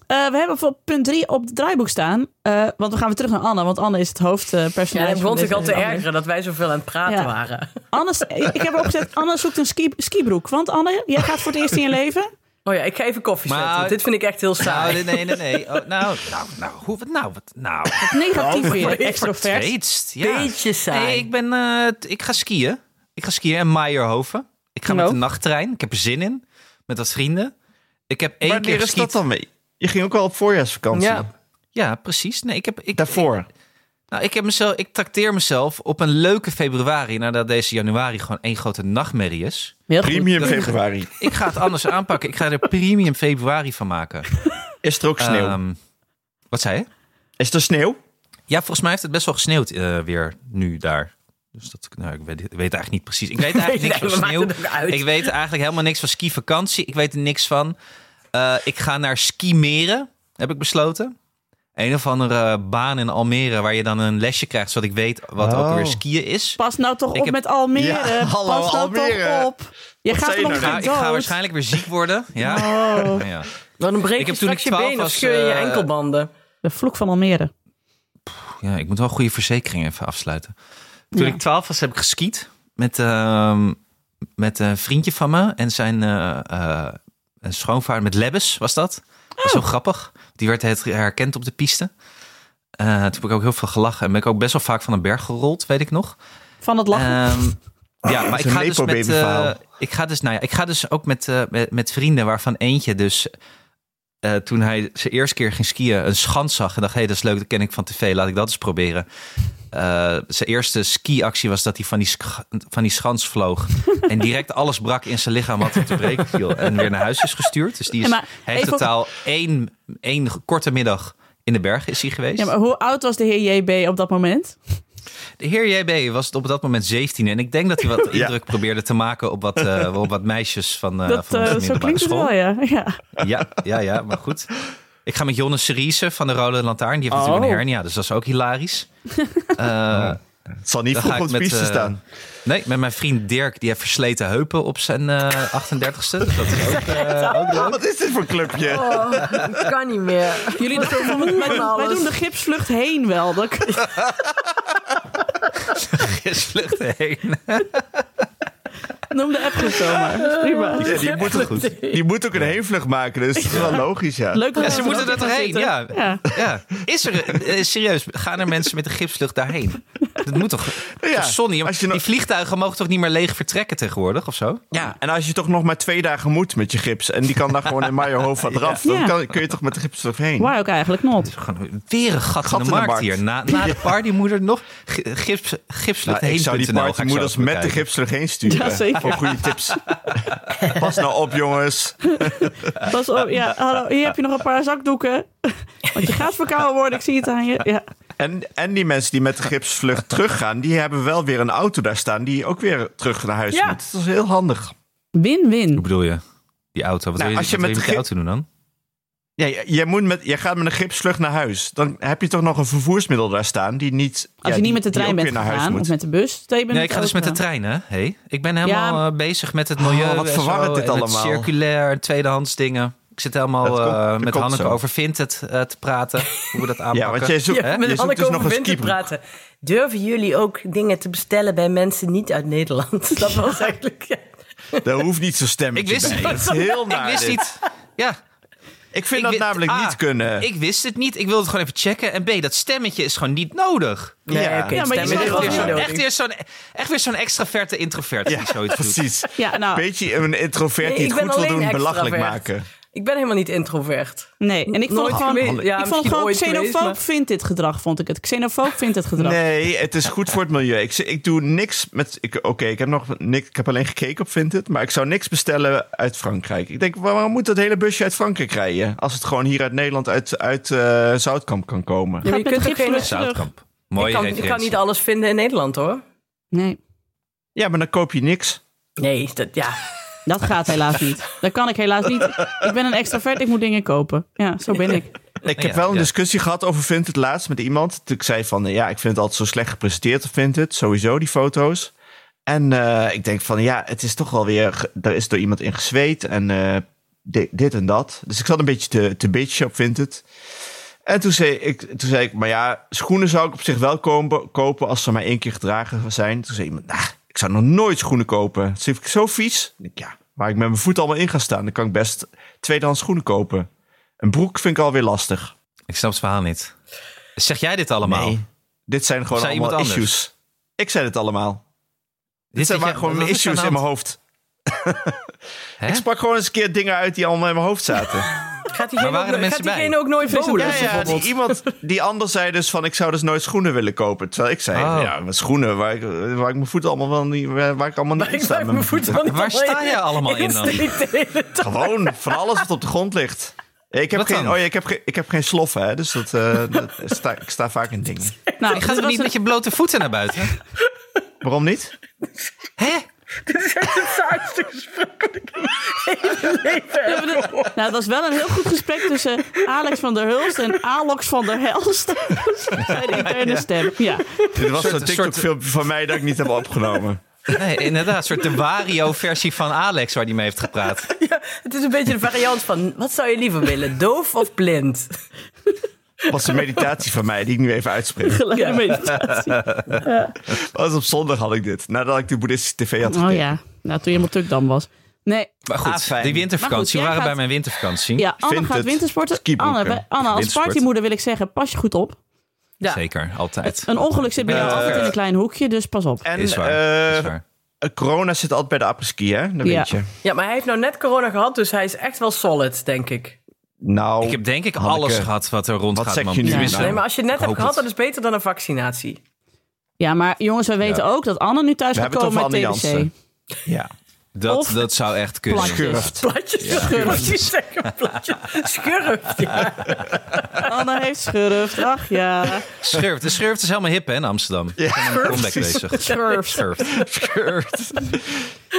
Speaker 3: Eh, we hebben voor punt 3 op het draaiboek staan. Eh, want we gaan weer terug naar Anne, want Anne is het hoofdpersonage.
Speaker 4: Ja, hij
Speaker 3: van
Speaker 4: begon
Speaker 3: dit-
Speaker 4: zich al te
Speaker 3: Anne.
Speaker 4: ergeren dat wij zoveel aan het praten
Speaker 3: Ja.
Speaker 4: waren.
Speaker 3: Anne, ik heb opgezet, Anne zoekt een ski, skibroek. Want Anne, jij gaat voor het eerst in je leven.
Speaker 4: Oh ja, ik ga even koffie
Speaker 1: Maar-
Speaker 4: zetten. want dit vind ik echt heel
Speaker 1: Nou,
Speaker 4: saai.
Speaker 1: nee, nee, nee. nee. Oh, nou, nou, nou, hoe, wat nou, wat nou.
Speaker 3: Negatief weer,
Speaker 4: even
Speaker 3: extrovert.
Speaker 1: Vertweetst, ja.
Speaker 4: Beetje saai.
Speaker 1: Nee, ik, ben, eh, t- ik ga skiën. Ik ga skiën in Meijerhoven. Ik ga
Speaker 3: Ik
Speaker 1: met
Speaker 3: ook.
Speaker 1: de nachttrein. Ik heb er zin in. Met wat vrienden. Ik heb één keer
Speaker 2: Wanneer is
Speaker 1: geskiet.
Speaker 2: dat dan mee? Je ging ook wel op voorjaarsvakantie.
Speaker 4: Ja.
Speaker 1: Ja, precies. Nee, ik heb, ik,
Speaker 2: Daarvoor.
Speaker 1: Nou, ik, heb mezelf, ik trakteer mezelf op een leuke februari, nadat deze januari gewoon één grote nachtmerrie is.
Speaker 3: Heel goed.
Speaker 2: Premium
Speaker 1: dat-
Speaker 2: februari.
Speaker 1: Ik
Speaker 4: [LAUGHS]
Speaker 1: ga het anders aanpakken. Ik ga er premium februari van maken.
Speaker 2: Is er ook sneeuw?
Speaker 1: Ehm, wat zei je?
Speaker 2: is er sneeuw?
Speaker 1: Ja, volgens mij heeft het best wel gesneeuwd eh, weer nu daar. Dus dat, nou, ik weet, ik weet eigenlijk niet precies. Ik
Speaker 4: [LAUGHS]
Speaker 1: weet eigenlijk niks
Speaker 4: Nee,
Speaker 1: van
Speaker 4: we
Speaker 1: sneeuw.
Speaker 4: maken het ook uit.
Speaker 1: Ik weet eigenlijk helemaal niks van skivakantie. Ik weet er niks van. Eh, ik ga naar skimeren, heb ik besloten. Een of andere baan in Almere waar je dan een lesje krijgt, zodat ik weet wat ook
Speaker 2: Oh.
Speaker 1: weer skiën is.
Speaker 3: Pas nou toch
Speaker 1: Ik
Speaker 3: op
Speaker 1: heb-
Speaker 3: met Almere.
Speaker 2: Ja, hallo,
Speaker 3: Pas nou
Speaker 2: Almere.
Speaker 3: toch op. Je gaat
Speaker 2: zei je
Speaker 3: er nog
Speaker 1: Ik ga,
Speaker 3: geen
Speaker 1: ik ga
Speaker 3: dood.
Speaker 1: waarschijnlijk weer ziek worden. Ja.
Speaker 3: Oh,
Speaker 1: Nou ja.
Speaker 4: Dan
Speaker 1: Ik
Speaker 4: breek je
Speaker 1: heb toen ik
Speaker 4: straks je
Speaker 1: 12
Speaker 4: been of
Speaker 1: was,
Speaker 4: scheur je je
Speaker 1: eh,
Speaker 4: enkelbanden.
Speaker 3: de vloek van Almere.
Speaker 1: ja, ik moet wel goede verzekeringen even afsluiten. Toen
Speaker 3: Ja.
Speaker 1: ik twaalf was, heb ik geskiet met, ehm, met een vriendje van me en zijn eh, eh, een schoonvader met lebbes was dat. Dat is zo grappig. Die werd het herkend op de piste. Eh, toen heb ik ook heel veel gelachen en ben ik ook best wel vaak van een berg gerold, weet ik nog.
Speaker 3: Van het lachen.
Speaker 1: Ehm, ja, maar
Speaker 2: is
Speaker 1: ik
Speaker 2: een
Speaker 1: ga, dus met,
Speaker 2: nepo-baby
Speaker 1: eh,
Speaker 2: verhaal.
Speaker 1: ik, ga dus, nou ja, ik ga dus ook met, eh, met, met vrienden waarvan eentje dus... eh, toen hij zijn eerste keer ging skiën, een schans zag. En dacht, hé, hey, dat is leuk, dat ken ik van tv. Laat ik dat eens proberen. Eh, zijn eerste skiactie was dat hij van die, sch- van die schans
Speaker 3: [LAUGHS]
Speaker 1: vloog. en direct alles brak in zijn lichaam wat er te breken viel. En weer naar huis is gestuurd. Dus die is,
Speaker 3: Ja, maar
Speaker 1: hij heeft
Speaker 3: even-
Speaker 1: totaal één, één korte middag in de bergen is hij geweest.
Speaker 3: ja, maar hoe oud was de heer JB op dat moment?
Speaker 1: De heer JB was op dat moment 17 en ik denk dat hij wat
Speaker 2: Ja.
Speaker 1: indruk probeerde te maken op wat, eh, op wat meisjes van, eh
Speaker 3: dat,
Speaker 1: van
Speaker 3: eh,
Speaker 1: onze
Speaker 3: zo
Speaker 1: middelbare
Speaker 3: klinkt het
Speaker 1: school.
Speaker 3: wel, ja. ja.
Speaker 1: ja, ja, ja, maar goed. Ik ga met Jonne Seriese van de Rode Lantaarn. Die heeft
Speaker 4: Oh.
Speaker 1: natuurlijk een hernia, dus dat is ook
Speaker 3: [LAUGHS]
Speaker 1: hilarisch. Eh,
Speaker 2: Het zal niet
Speaker 1: dan ga
Speaker 2: vroeg
Speaker 1: ik
Speaker 2: op de
Speaker 1: met,
Speaker 2: piste
Speaker 1: eh,
Speaker 2: staan.
Speaker 1: nee, met mijn vriend Dirk, die heeft versleten heupen op zijn eh 38ste. Dus dat is
Speaker 3: [LAUGHS]
Speaker 1: ook,
Speaker 2: [LAUGHS] Wat is dit voor clubje?
Speaker 4: Oh, [LAUGHS] dat kan niet meer. Jullie doen dus. zo moe
Speaker 3: Wij, doen, wij doen de gipsvlucht heen wel. Dat,
Speaker 1: [LAUGHS] is vlucht heen.
Speaker 3: noem de app goed zomaar. Dat is Prima.
Speaker 2: Ja, die, moet ook,
Speaker 1: goed.
Speaker 2: die moet ook een heenvlucht maken, dus dat is wel logisch, ja.
Speaker 3: Leuk dat
Speaker 1: Ja,
Speaker 3: we
Speaker 1: ze
Speaker 3: er
Speaker 1: moeten
Speaker 3: ook
Speaker 1: er
Speaker 3: in gaan
Speaker 1: doorheen,
Speaker 3: zitten.
Speaker 1: ja.
Speaker 3: ja.
Speaker 1: Ja, is er, eh, serieus, gaan er mensen met een gipslucht daarheen? Dat moet toch,
Speaker 2: Ja,
Speaker 1: toch zonnie?
Speaker 2: als je nog-
Speaker 1: Die vliegtuigen mogen toch niet meer leeg vertrekken tegenwoordig of zo?
Speaker 2: Ja, en als je toch nog maar twee dagen moet met je gips... en die kan daar gewoon in [LAUGHS] Maijerhoofd wat eraf...
Speaker 3: Ja.
Speaker 2: dan kan, kun je toch met de gips erheen.
Speaker 3: Waar ook eigenlijk not.
Speaker 1: Gewoon weer een gat,
Speaker 2: Gat
Speaker 1: in de markt, hier. Na, na de partymoeder nog gi- gips,
Speaker 2: Nou, ik zou die
Speaker 1: gipsluchtheen.nl ga ik zo
Speaker 2: partymoeders
Speaker 3: nou,
Speaker 1: even
Speaker 2: met de
Speaker 1: bekijken.
Speaker 2: gips erheen sturen.
Speaker 3: Ja, zeker.
Speaker 2: Voor goede
Speaker 3: [LAUGHS]
Speaker 2: tips. Pas nou op, jongens.
Speaker 3: Pas op, ja, hallo, hier heb je nog een
Speaker 1: [LAUGHS]
Speaker 3: paar zakdoeken. Want je gaat verkouden worden, ik zie het aan je. Ja.
Speaker 2: En, en die mensen die met de gipsvlucht teruggaan... die hebben wel weer een auto daar staan... die ook weer terug naar huis
Speaker 4: Ja.
Speaker 2: moet. Dat is heel handig.
Speaker 1: Hoe
Speaker 3: Win-win.
Speaker 1: bedoel je? Die auto, wat
Speaker 2: Nou,
Speaker 1: wil je,
Speaker 2: als je
Speaker 1: wat wil je met
Speaker 2: met
Speaker 1: die auto
Speaker 2: de
Speaker 1: doen dan?
Speaker 2: Ja, j- jij, moet met, jij gaat met een gipsvlucht naar huis. Dan heb je toch nog een vervoersmiddel daar staan... die niet... ja,
Speaker 3: Als je
Speaker 2: die-
Speaker 3: niet met de
Speaker 2: die
Speaker 3: trein
Speaker 2: ook
Speaker 3: bent
Speaker 2: weer naar huis
Speaker 3: gegaan
Speaker 2: moet.
Speaker 3: of met de bus. dan je bent
Speaker 1: Nee, ik ga dus met de
Speaker 3: auto.
Speaker 1: trein, hè? Hey, ik ben helemaal eh, bezig met het milieu.
Speaker 2: Oh, wat
Speaker 1: en
Speaker 2: verwarrend
Speaker 1: zo,
Speaker 2: dit
Speaker 1: en met
Speaker 2: allemaal.
Speaker 1: circulair, tweedehands dingen. Ik zit
Speaker 2: Dat
Speaker 1: helemaal
Speaker 2: komt-
Speaker 1: eh,
Speaker 2: dat
Speaker 1: met
Speaker 2: komt
Speaker 1: Hanneke
Speaker 2: zo.
Speaker 1: over Vinted eh, te
Speaker 2: [LAUGHS]
Speaker 1: praten. Hoe we dat aanpakken.
Speaker 2: Ja, want jij zoekt,
Speaker 4: [LAUGHS] Ja,
Speaker 2: hè?
Speaker 4: met
Speaker 2: je zoekt
Speaker 4: Anneke
Speaker 2: dus nog
Speaker 4: over
Speaker 2: een
Speaker 4: winter
Speaker 2: skiproef.
Speaker 4: praten. Durven jullie ook dingen te bestellen bij mensen niet uit Nederland? [LAUGHS] Dat was eigenlijk... ja.
Speaker 2: Daar hoeft niet zo stemmetje
Speaker 1: Ik wist
Speaker 2: bij.
Speaker 1: het
Speaker 2: Dat is heel naar
Speaker 1: [LAUGHS] Ik wist
Speaker 2: dit.
Speaker 1: niet. Ja,
Speaker 2: Ik vind
Speaker 1: Ik
Speaker 2: dat
Speaker 1: wi-
Speaker 2: namelijk
Speaker 1: A,
Speaker 2: niet kunnen.
Speaker 1: Ik wist het niet. Ik wilde het gewoon even checken. En B, dat stemmetje is gewoon niet nodig.
Speaker 2: Ja.
Speaker 4: Nee, oké,
Speaker 2: Ja,
Speaker 3: maar je
Speaker 4: stemmen
Speaker 3: snapt
Speaker 4: is
Speaker 3: wel
Speaker 1: Echt weer
Speaker 4: niet
Speaker 3: wat
Speaker 1: zo'n-
Speaker 3: je
Speaker 4: nodig.
Speaker 1: echt weer zo'n- echt weer zo'n extraverte introvert die zoiets doet.
Speaker 2: Precies.
Speaker 3: Ja, nou,
Speaker 2: Beetje een introvert
Speaker 4: Nee,
Speaker 2: die
Speaker 4: ik
Speaker 2: het
Speaker 4: ben
Speaker 2: goed wil
Speaker 4: alleen
Speaker 2: doen, belachelijk
Speaker 4: extravert.
Speaker 2: maken.
Speaker 4: Ik ben helemaal niet introvert.
Speaker 3: nee. En ik vond
Speaker 4: Nooit
Speaker 3: het gewoon,
Speaker 4: geweest. Ja,
Speaker 3: ik vond
Speaker 4: misschien
Speaker 3: het gewoon
Speaker 4: ooit geweest,
Speaker 3: xenofoob
Speaker 4: maar-
Speaker 3: vindt dit gedrag, vond ik het. Xenofoob vindt dit gedrag.
Speaker 2: Nee, het is goed voor het milieu. Ik, z- ik doe niks met. ik- Oké, ik heb nog niks. Ik heb alleen gekeken op Vinted, maar ik zou niks bestellen uit Frankrijk. Ik denk, waar- waarom moet dat hele busje uit Frankrijk rijden? Als het gewoon hier uit Nederland, uit, uit eh, Zoutkamp kan komen.
Speaker 4: Ja,
Speaker 3: Gaat
Speaker 4: je
Speaker 3: met
Speaker 4: kunt
Speaker 3: de
Speaker 4: ook geen-
Speaker 3: gipsvlucht terug.
Speaker 1: Zoutkamp. Mooie
Speaker 4: Ik kan, ik
Speaker 1: referentie.
Speaker 4: kan niet alles vinden in Nederland, hoor.
Speaker 3: Nee,
Speaker 2: Ja, maar dan koop je niks.
Speaker 4: Nee, dat, ja.
Speaker 3: dat gaat helaas niet. Dat kan ik helaas niet. Ik ben een extravert, ik moet dingen kopen. Ja, zo ben ik.
Speaker 2: Ik
Speaker 1: Ja,
Speaker 2: heb wel een
Speaker 1: ja.
Speaker 2: discussie gehad over Vinted laatst met iemand. Ik zei van, ja, ik vind het altijd zo slecht gepresenteerd op Vinted. Sowieso, die foto's. En eh, ik denk van, ja, het is toch wel weer... ge- Er is door iemand in gezweet en eh, di- dit en dat. Dus ik zat een beetje te, te bitchen op Vinted. En toen zei, ik, toen zei ik, maar ja, schoenen zou ik op zich wel kopen, kopen als ze maar één keer gedragen zijn. Toen zei iemand, nah, ik zou nog nooit schoenen kopen. Dat vind ik zo vies. Ik denk, ja, waar ik met mijn voet allemaal in ga staan, dan kan ik best tweedehands schoenen kopen. Een broek vind ik alweer lastig.
Speaker 1: Ik snap het verhaal niet. Zeg jij dit allemaal?
Speaker 2: Nee. Dit zijn gewoon
Speaker 1: Zei
Speaker 2: allemaal
Speaker 1: iemand anders?
Speaker 2: issues. Ik zei het allemaal.
Speaker 1: Dit
Speaker 2: Dit zijn
Speaker 1: is-
Speaker 2: maar gewoon
Speaker 1: wat
Speaker 2: mijn
Speaker 1: is er nou
Speaker 2: issues
Speaker 1: aan
Speaker 2: in
Speaker 1: de
Speaker 2: mijn hoofd.
Speaker 1: hand?
Speaker 2: Ik
Speaker 1: Hè?
Speaker 2: sprak gewoon eens een keer dingen uit die allemaal in mijn hoofd
Speaker 1: [LAUGHS]
Speaker 2: zaten.
Speaker 4: Gaat
Speaker 1: Maar
Speaker 4: diegene,
Speaker 1: waren
Speaker 4: ook,
Speaker 1: er
Speaker 4: no-
Speaker 1: mensen
Speaker 4: gaat diegene
Speaker 1: bij?
Speaker 4: ook nooit bowlen?
Speaker 2: ja, ja, die, iemand die ander zei dus van ik zou dus nooit schoenen willen kopen. Terwijl ik zei,
Speaker 1: Oh.
Speaker 2: ja, mijn schoenen waar ik, waar ik mijn voeten allemaal wel niet, waar, waar ik allemaal niet in
Speaker 4: Ik
Speaker 2: sta.
Speaker 4: maak
Speaker 2: met
Speaker 4: mijn
Speaker 2: mijn
Speaker 4: voet wel niet
Speaker 1: Waar sta
Speaker 4: alleen.
Speaker 1: jij allemaal in dan?
Speaker 4: Instinct de hele tijd.
Speaker 2: Gewoon van alles wat op de grond ligt. Ik heb,
Speaker 1: Wat
Speaker 2: geen,
Speaker 1: dan?
Speaker 2: oh ja, ik heb, geen- ik heb geen sloffen, hè, dus dat, eh, dat sta, ik sta vaak in dingen.
Speaker 3: Nou,
Speaker 1: Ik ga
Speaker 3: er
Speaker 1: toch
Speaker 3: was
Speaker 1: niet
Speaker 3: een-
Speaker 1: met je blote voeten naar buiten?
Speaker 2: Waarom niet?
Speaker 1: Hè?
Speaker 4: Dit is echt het saaiste gesprek dat ik in mijn hele leven heb
Speaker 3: [LAUGHS]
Speaker 4: gehoord.
Speaker 3: Nou, het was wel een heel goed gesprek tussen Alex van der Hulst en Alox van der Helst. [LAUGHS] Zijn interne stem. Ja.
Speaker 2: Dit was
Speaker 1: Soort-
Speaker 2: een TikTok-filmpje van mij dat ik niet heb opgenomen.
Speaker 1: Nee, inderdaad. Een soort de Wario-versie van Alex waar hij mee heeft gepraat.
Speaker 4: Het is een beetje de variant van, wat zou je liever willen, doof of blind?
Speaker 2: was een meditatie van mij die ik nu even uitspreek.
Speaker 1: [LAUGHS]
Speaker 3: Geleide meditatie.
Speaker 2: Was op zondag had ik dit. Nadat ik de boeddhistische tv had
Speaker 3: Oh
Speaker 2: gekeken.
Speaker 3: ja, nou, toen je helemaal tukdam was. Nee,
Speaker 1: Maar goed,
Speaker 2: Ah, fijn.
Speaker 1: die wintervakantie.
Speaker 3: Maar goed, jij
Speaker 1: we waren
Speaker 3: gaat-
Speaker 1: bij mijn wintervakantie.
Speaker 3: ja, Anne
Speaker 2: vind
Speaker 3: gaat
Speaker 2: het
Speaker 3: wintersporten.
Speaker 2: skiboeken.
Speaker 3: Anne, bij- Anne, als
Speaker 1: Wintersport.
Speaker 3: partymoeder wil ik zeggen, pas je goed op.
Speaker 4: Ja.
Speaker 1: Zeker, altijd.
Speaker 3: Een ongeluk zit bij jou
Speaker 1: Eh,
Speaker 3: altijd in een klein hoekje, dus pas op.
Speaker 2: En
Speaker 1: Is waar,
Speaker 2: eh,
Speaker 1: is waar.
Speaker 2: corona zit altijd bij de apres-ski, hè? Dat
Speaker 3: Ja.
Speaker 2: weet je.
Speaker 4: Ja, maar hij heeft nou net corona gehad, dus hij is echt wel solid, denk ik.
Speaker 2: Nou,
Speaker 1: Ik heb denk ik
Speaker 2: Hanneke,
Speaker 1: alles gehad wat er rond
Speaker 2: wat
Speaker 1: gaat.
Speaker 2: zeg
Speaker 1: man.
Speaker 2: je nu?
Speaker 1: Tenminste,
Speaker 2: Nou,
Speaker 4: Nee, maar als je het net
Speaker 1: ik
Speaker 4: hebt
Speaker 1: hoop
Speaker 4: gehad, dat is beter dan een vaccinatie. [LAUGHS]
Speaker 3: Ja, maar jongens, we weten ook dat Anne nu thuis
Speaker 2: We
Speaker 3: gaat
Speaker 2: hebben het
Speaker 3: komen met
Speaker 2: over
Speaker 3: TBC.
Speaker 2: Anne Jansen. ja.
Speaker 1: dat,
Speaker 3: of
Speaker 1: dat zou echt kunnen.
Speaker 3: plantjes.
Speaker 2: Schurft.
Speaker 4: Platjes, [LAUGHS] schurft. Je zeggen, platjes, schurft. Ja.
Speaker 3: Anne heeft schurft. Ach ja,
Speaker 1: Schurft. De Schurft is helemaal hip hè, in Amsterdam. Ik ben aan een comeback
Speaker 2: precies.
Speaker 1: bezig.
Speaker 3: schurft.
Speaker 1: Schurft.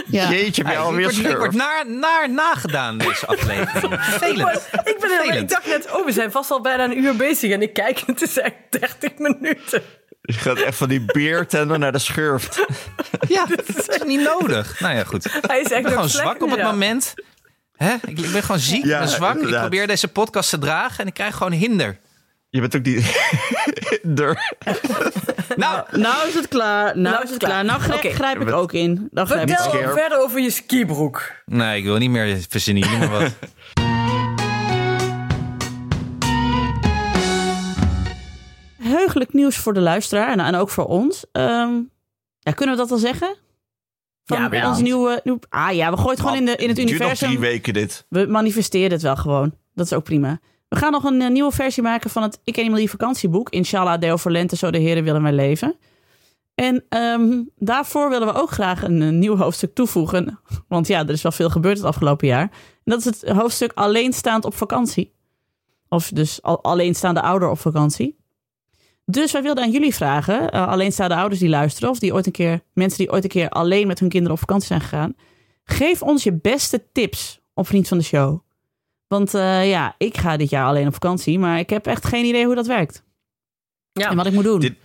Speaker 3: Ja.
Speaker 2: Jeetje, ben je
Speaker 1: Ja, ik
Speaker 2: alweer
Speaker 1: word, ik word
Speaker 2: schurft.
Speaker 1: naar, naar nagedaan deze
Speaker 4: [LAUGHS]
Speaker 1: aflevering. Vervelend.
Speaker 4: Ik, ben helemaal, ik
Speaker 1: Vervelend.
Speaker 4: dacht net, oh, we zijn vast al bijna een uur bezig. En ik kijk, het is echt 30 minuten.
Speaker 2: Je gaat echt van die beertender naar de schurft.
Speaker 1: Ja, dat is niet nodig. Nou ja, goed. Ik
Speaker 4: Hij is echt
Speaker 1: ben gewoon
Speaker 4: nog slecht
Speaker 1: zwak op het
Speaker 4: inderdaad.
Speaker 1: moment. Hè? Ik, ik ben gewoon ziek,
Speaker 2: Ja,
Speaker 1: en zwak. Ik
Speaker 2: inderdaad.
Speaker 1: probeer deze podcast te dragen en ik krijg gewoon hinder.
Speaker 2: Je bent ook die... [LAUGHS] Dur.
Speaker 1: Nou,
Speaker 3: Nou is het klaar. Nou, is het klaar. Nou grij-
Speaker 4: Oké.
Speaker 3: grijp ik ook in. Dan grijp ik ook.
Speaker 4: Vertel
Speaker 2: Scherp.
Speaker 4: verder over je skibroek.
Speaker 1: nee, ik wil niet meer verzinnen. Noem maar wat.
Speaker 3: Heugelijk nieuws voor de luisteraar en, en ook voor ons. Ehm, ja, kunnen we dat al zeggen? Van
Speaker 4: Ja, wel.
Speaker 3: ons nieuwe, nieuw- Ah ja, we gooien het gewoon in, de, in het
Speaker 2: Nou, duurt nog drie
Speaker 3: universum.
Speaker 2: weken dit.
Speaker 3: We manifesteren het wel gewoon. Dat is ook prima. We gaan nog een eh, nieuwe versie maken van het Ik en Emily vakantieboek. Inshallah, Deo voor Lente, zo de heren willen wij leven. En ehm, daarvoor willen we ook graag een, eh, nieuw hoofdstuk toevoegen. [LAUGHS] Want ja, er is wel veel gebeurd het afgelopen jaar. En dat is het hoofdstuk Alleenstaand op vakantie. Of dus al, alleenstaande ouder op vakantie. Dus wij wilden aan jullie vragen, eh, alleenstaande ouders die luisteren... of die ooit een keer, mensen die ooit een keer alleen met hun kinderen op vakantie zijn gegaan... geef ons je beste tips op Vriend van de Show. Want eh, ja, ik ga dit jaar alleen op vakantie... maar ik heb echt geen idee hoe dat werkt.
Speaker 4: Ja.
Speaker 3: En wat ik moet doen.
Speaker 2: Dit-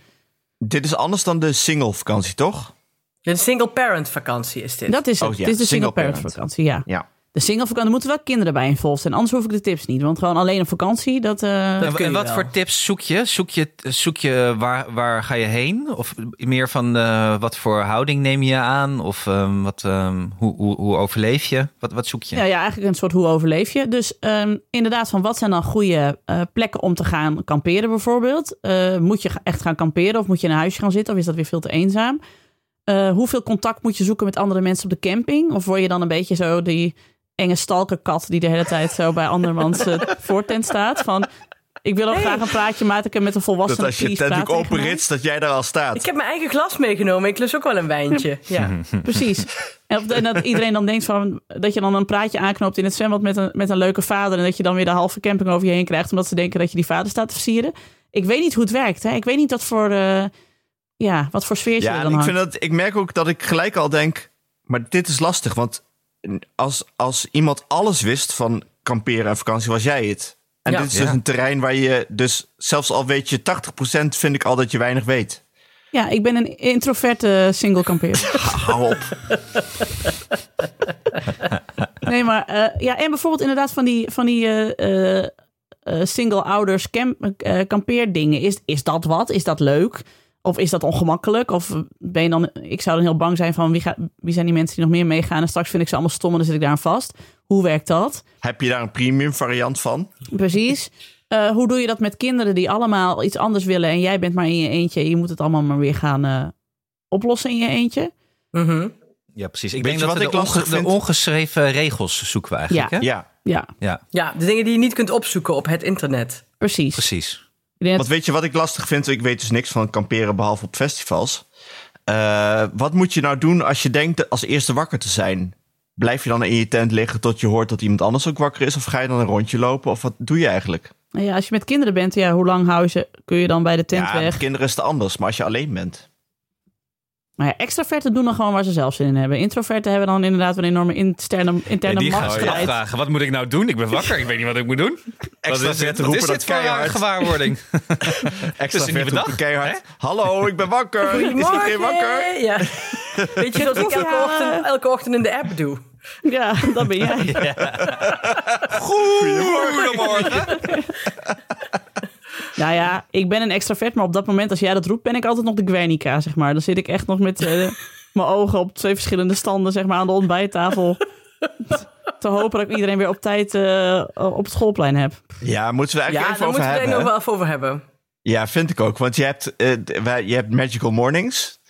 Speaker 2: Dit is anders dan de single vakantie, toch?
Speaker 4: Een single parent vakantie is dit.
Speaker 3: Dat is het.
Speaker 2: Oh ja,
Speaker 3: Dit is de single
Speaker 2: single
Speaker 3: parent
Speaker 2: parent.
Speaker 3: vakantie, ja.
Speaker 2: Ja.
Speaker 3: De single vakantie, er moeten wel kinderen bij involved zijn. Anders hoef ik de tips niet. Want gewoon alleen op vakantie, dat... eh,
Speaker 1: En,
Speaker 4: kun
Speaker 1: en
Speaker 4: je
Speaker 1: wat
Speaker 4: wel.
Speaker 1: voor tips zoek je? Zoek je, zoek je eh, waar, waar ga je heen? Of meer van eh, wat voor houding neem je aan? Of ehm, wat, ehm, hoe, hoe, hoe overleef je? Wat, wat zoek je?
Speaker 3: Ja, ja, eigenlijk een soort hoe overleef je. Dus ehm, inderdaad, van wat zijn dan goede eh, plekken om te gaan kamperen bijvoorbeeld? Eh, moet je echt gaan kamperen of moet je in een huisje gaan zitten? Of is dat weer veel te eenzaam? Eh, hoeveel contact moet je zoeken met andere mensen op de camping? Of word je dan een beetje zo die enge stalkerkat die de hele tijd zo bij andermans eh, voortent staat? Van, ik wil ook graag een praatje maken met een
Speaker 2: Dat
Speaker 3: volwassene.
Speaker 2: als je
Speaker 3: please,
Speaker 2: tent
Speaker 3: praat
Speaker 2: ook
Speaker 3: tegen mij.
Speaker 2: openritst, dat jij daar al staat.
Speaker 4: Ik heb mijn eigen glas meegenomen. Ik lus ook wel een wijntje. Ja.
Speaker 2: Mhm.
Speaker 3: [LAUGHS] Precies. En, op- en dat iedereen dan denkt van dat je dan een praatje aanknoopt in het zwembad met een, met een leuke vader. En dat je dan weer de halve camping over je heen krijgt. Omdat ze denken dat je die vader staat te versieren. Ik weet niet hoe het werkt. Hè? Ik weet niet wat voor, eh, ja, wat voor sfeertje
Speaker 2: Ja,
Speaker 3: er
Speaker 2: en
Speaker 3: dan
Speaker 2: ik,
Speaker 3: hangt.
Speaker 2: vind dat, ik merk ook dat ik gelijk al denk, maar dit is lastig. Want als, als iemand alles wist van kamperen en vakantie, was jij het. En
Speaker 4: Ja.
Speaker 2: dit is
Speaker 1: Ja.
Speaker 2: dus een terrein waar je, dus zelfs al weet je 80%, vind ik al dat je weinig weet.
Speaker 3: Ja, ik ben een introverte single kampeer.
Speaker 2: Hou op.
Speaker 3: nee, maar eh, ja, en bijvoorbeeld inderdaad van die, van die eh, eh, eh, single ouders camp, eh, kampeerdingen. Is, is dat wat? Is dat leuk? Of is dat ongemakkelijk? Of ben je dan, ik zou dan heel bang zijn van wie, ga, wie zijn die mensen die nog meer meegaan? En straks vind ik ze allemaal stom en dan zit ik daar aan vast. Hoe werkt dat?
Speaker 2: Heb je daar een premium variant van?
Speaker 3: Precies. Eh, hoe doe je dat met kinderen die allemaal iets anders willen en jij bent maar in je eentje? Je moet het allemaal maar weer gaan eh, oplossen in je eentje.
Speaker 4: Mhm.
Speaker 1: Ja, precies. Ik
Speaker 2: Weet
Speaker 1: denk
Speaker 2: je
Speaker 1: dat
Speaker 2: wat
Speaker 1: we
Speaker 2: ik
Speaker 1: de, onge-
Speaker 2: lastig
Speaker 1: de
Speaker 2: vind?
Speaker 1: ongeschreven regels zoeken we eigenlijk.
Speaker 3: Ja.
Speaker 1: Hè?
Speaker 2: Ja.
Speaker 3: Ja,
Speaker 1: ja,
Speaker 4: ja, de dingen die je niet kunt opzoeken op het internet.
Speaker 3: precies.
Speaker 1: precies.
Speaker 3: Ik denk dat-
Speaker 2: Want weet je wat ik lastig vind? Ik weet dus niks van kamperen behalve op festivals. Eh, wat moet je nou doen als je denkt als eerste wakker te zijn? Blijf je dan in je tent liggen tot je hoort dat iemand anders ook wakker is? Of ga je dan een rondje lopen? Of wat doe je eigenlijk?
Speaker 3: Nou Ja, als je met kinderen bent, ja, hoe lang hou je ze, kun je dan bij de tent
Speaker 2: ja, met
Speaker 3: weg?
Speaker 2: kinderen is het anders, maar als je alleen bent.
Speaker 3: Maar ja, extraverten doen dan gewoon waar ze zelf zin in hebben. Introverten hebben dan inderdaad een enorme interne,
Speaker 1: En
Speaker 3: interne
Speaker 1: die gaan zich
Speaker 3: machtsstrijd.
Speaker 1: afvragen. Wat moet ik nou doen? Ik ben wakker. Ik weet niet wat ik moet doen. Wat
Speaker 2: Extra
Speaker 1: is
Speaker 2: vet
Speaker 1: dit, wat
Speaker 2: roepen
Speaker 1: is
Speaker 2: dat
Speaker 1: dit voor een [LAUGHS]
Speaker 2: keihard.
Speaker 1: gewaarwording?
Speaker 2: Extra
Speaker 1: een nieuwe
Speaker 2: vet roepen
Speaker 1: dag,
Speaker 2: keihard. Hallo, ik ben
Speaker 4: [LAUGHS]
Speaker 2: wakker. Is iedereen wakker?
Speaker 4: Ja. Weet je, zoals ik elke
Speaker 3: [LAUGHS] Ja.
Speaker 4: ochtend, elke ochtend in de app doe.
Speaker 3: Ja, dat ben jij.
Speaker 1: Goedemorgen.
Speaker 3: Nou ja, ik ben een extravert, maar op dat moment als jij dat roept, ben ik altijd nog de Guernica, zeg maar. Dan zit ik echt nog met eh, mijn ogen op twee verschillende standen, zeg maar, aan de ontbijttafel. Te hopen dat ik iedereen weer op tijd eh, op het schoolplein heb.
Speaker 2: Ja, moeten we eigenlijk
Speaker 4: Ja,
Speaker 2: even
Speaker 4: daar
Speaker 2: over
Speaker 4: moeten we het
Speaker 2: hebben.
Speaker 4: nog wel even over hebben.
Speaker 2: Ja, vind ik ook. Want je hebt, eh, d- wij- je hebt Magical Mornings.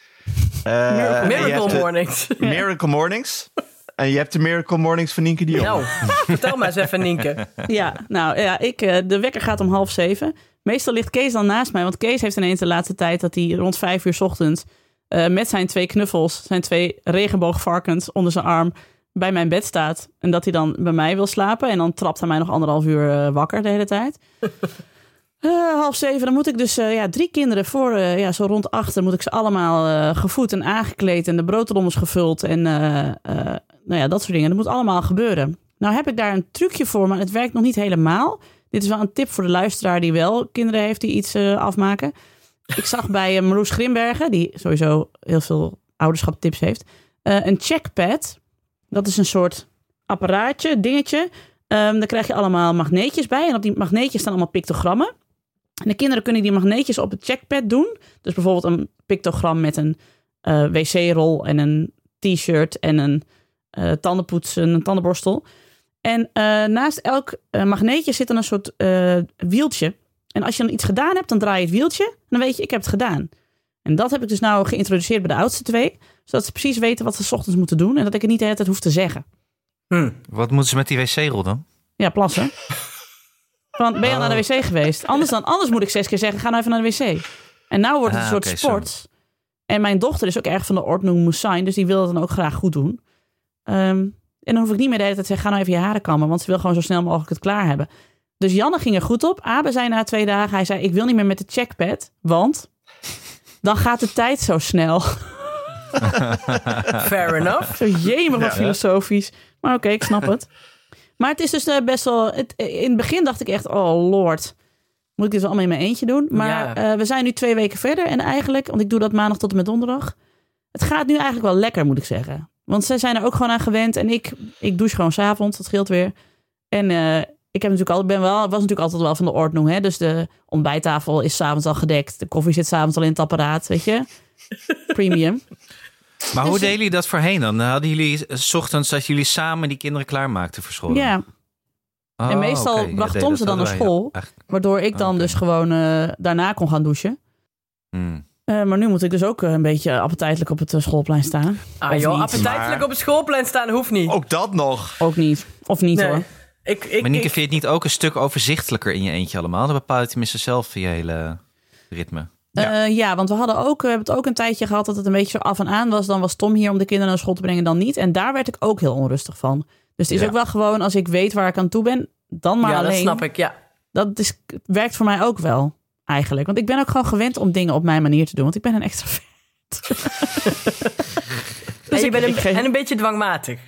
Speaker 2: Eh, en je hebt
Speaker 4: Miracle
Speaker 2: de-
Speaker 3: eh,
Speaker 4: Mornings.
Speaker 2: Miracle Mornings. En je hebt de Miracle Mornings van Nienke de Jong.
Speaker 4: Nou, vertel maar eens even, Nienke.
Speaker 3: Ja, nou ja, ik, eh, de wekker gaat om half zeven. Meestal ligt Kees dan naast mij, want Kees heeft ineens de laatste tijd dat hij rond vijf uur 's ochtends eh, met zijn twee knuffels, zijn twee regenboogvarkens onder zijn arm, bij mijn bed staat. En dat hij dan bij mij wil slapen. En dan trapt hij mij nog anderhalf uur eh, wakker de hele tijd. Eh, half zeven, dan moet ik dus eh, ja, drie kinderen voor, eh, ja, zo rond acht, dan moet ik ze allemaal eh, gevoed en aangekleed en de broodrommels gevuld en eh, eh, nou ja, dat soort dingen. Dat moet allemaal gebeuren. Nou heb ik daar een trucje voor, maar het werkt nog niet helemaal. Dit is wel een tip voor de luisteraar die wel kinderen heeft die iets eh, afmaken. Ik zag bij eh, Marloes Grimbergen, die sowieso heel veel ouderschaptips heeft, eh, een checkpad. Dat is een soort apparaatje, dingetje. Ehm, daar krijg je allemaal magneetjes bij. En op die magneetjes staan allemaal pictogrammen. En de kinderen kunnen die magneetjes op het checkpad doen. Dus bijvoorbeeld een pictogram met een eh, wc-rol en een t-shirt en een eh tandenpoetsen, een tandenborstel. En eh, naast elk eh, magneetje zit dan een soort eh, wieltje. En als je dan iets gedaan hebt, dan draai je het wieltje. En dan weet je, ik heb het gedaan. En dat heb ik dus nou geïntroduceerd bij de oudste twee. Zodat ze precies weten wat ze 's ochtends moeten doen. En dat ik het niet de hele tijd hoef te zeggen.
Speaker 4: Hm,
Speaker 1: Wat moeten ze met die wc-rol dan?
Speaker 3: Ja, plassen. Van, ben je al naar de
Speaker 1: Oh.
Speaker 3: wc geweest? Anders, dan, anders moet ik zes keer zeggen, ga nou even naar de wc. En nou wordt het een
Speaker 1: Ah,
Speaker 3: soort
Speaker 1: oké, zo.
Speaker 3: sport. En mijn dochter is ook erg van de ordnung moest zijn. Dus die wil dat dan ook graag goed doen. Ehm, en dan hoef ik niet meer de hele tijd te zeggen, ga nou even je haren kammen. Want ze wil gewoon zo snel mogelijk het klaar hebben. Dus Janne ging er goed op. Abe zei na twee dagen, hij zei, ik wil niet meer met de checkpad. Want dan gaat de tijd zo snel.
Speaker 4: Fair enough.
Speaker 3: Zo jemig wat
Speaker 2: Ja.
Speaker 3: filosofisch. Maar oké, ik snap het. Maar het is dus eh, best wel... Het, in het begin dacht ik echt, oh lord. Moet ik dit wel allemaal in mijn eentje doen? Maar
Speaker 4: Ja.
Speaker 3: eh, we zijn nu twee weken verder. En eigenlijk, want ik doe dat maandag tot en met donderdag. Het gaat nu eigenlijk wel lekker, moet ik zeggen. Want zij zijn er ook gewoon aan gewend. En ik, ik douche gewoon s'avonds, dat scheelt weer. En eh, ik heb natuurlijk al, ben wel, was natuurlijk altijd wel van de ordnung. Hè? Dus de ontbijttafel is s'avonds al gedekt. De koffie zit s'avonds al in het apparaat, weet je. Premium.
Speaker 1: Maar hoe deden jullie dat voorheen dan? Hadden jullie eh, 's ochtends dat jullie samen die kinderen klaarmaakten voor school?
Speaker 3: Ja,
Speaker 1: Oh,
Speaker 3: En meestal
Speaker 1: oké. Ja,
Speaker 3: bracht
Speaker 1: nee,
Speaker 3: Tom
Speaker 1: dat
Speaker 3: ze dan
Speaker 1: hadden wij,
Speaker 3: naar
Speaker 1: ja.
Speaker 3: school.
Speaker 1: Eigenlijk,
Speaker 3: Waardoor ik
Speaker 4: Ah,
Speaker 3: dan
Speaker 1: Oké.
Speaker 3: dus gewoon eh, daarna kon gaan douchen.
Speaker 1: mm.
Speaker 3: Eh, maar nu moet ik dus ook eh, een beetje appetijtelijk op het eh, schoolplein staan.
Speaker 4: Ah joh,
Speaker 3: niet,
Speaker 4: appetijtelijk
Speaker 2: maar-
Speaker 4: op het schoolplein staan hoeft niet.
Speaker 2: Ook dat nog.
Speaker 3: Ook niet. Of niet
Speaker 4: Nee.
Speaker 3: hoor.
Speaker 4: Ik, ik,
Speaker 1: Maar Nienke,
Speaker 4: ik-
Speaker 1: vind je het niet ook een stuk overzichtelijker in je eentje allemaal? Dan bepaal je tenminste zelf je hele ritme.
Speaker 3: Ja. Eh, ja, want we hadden ook, we hebben het ook een tijdje gehad dat het een beetje zo af en aan was. Dan was Tom hier om de kinderen naar school te brengen, dan niet. En daar werd ik ook heel onrustig van. Dus het is
Speaker 2: Ja.
Speaker 3: ook wel gewoon, als ik weet waar ik aan toe ben, dan maar
Speaker 4: ja,
Speaker 3: alleen.
Speaker 4: dat snap ik, ja.
Speaker 3: Dat is, het werkt voor mij ook wel, eigenlijk. Want ik ben ook gewoon gewend om dingen op mijn manier te doen. Want ik ben een extra
Speaker 4: [LAUGHS] en, je
Speaker 3: Dus ik-
Speaker 4: bent een,
Speaker 3: ik geef-
Speaker 4: en een beetje dwangmatig.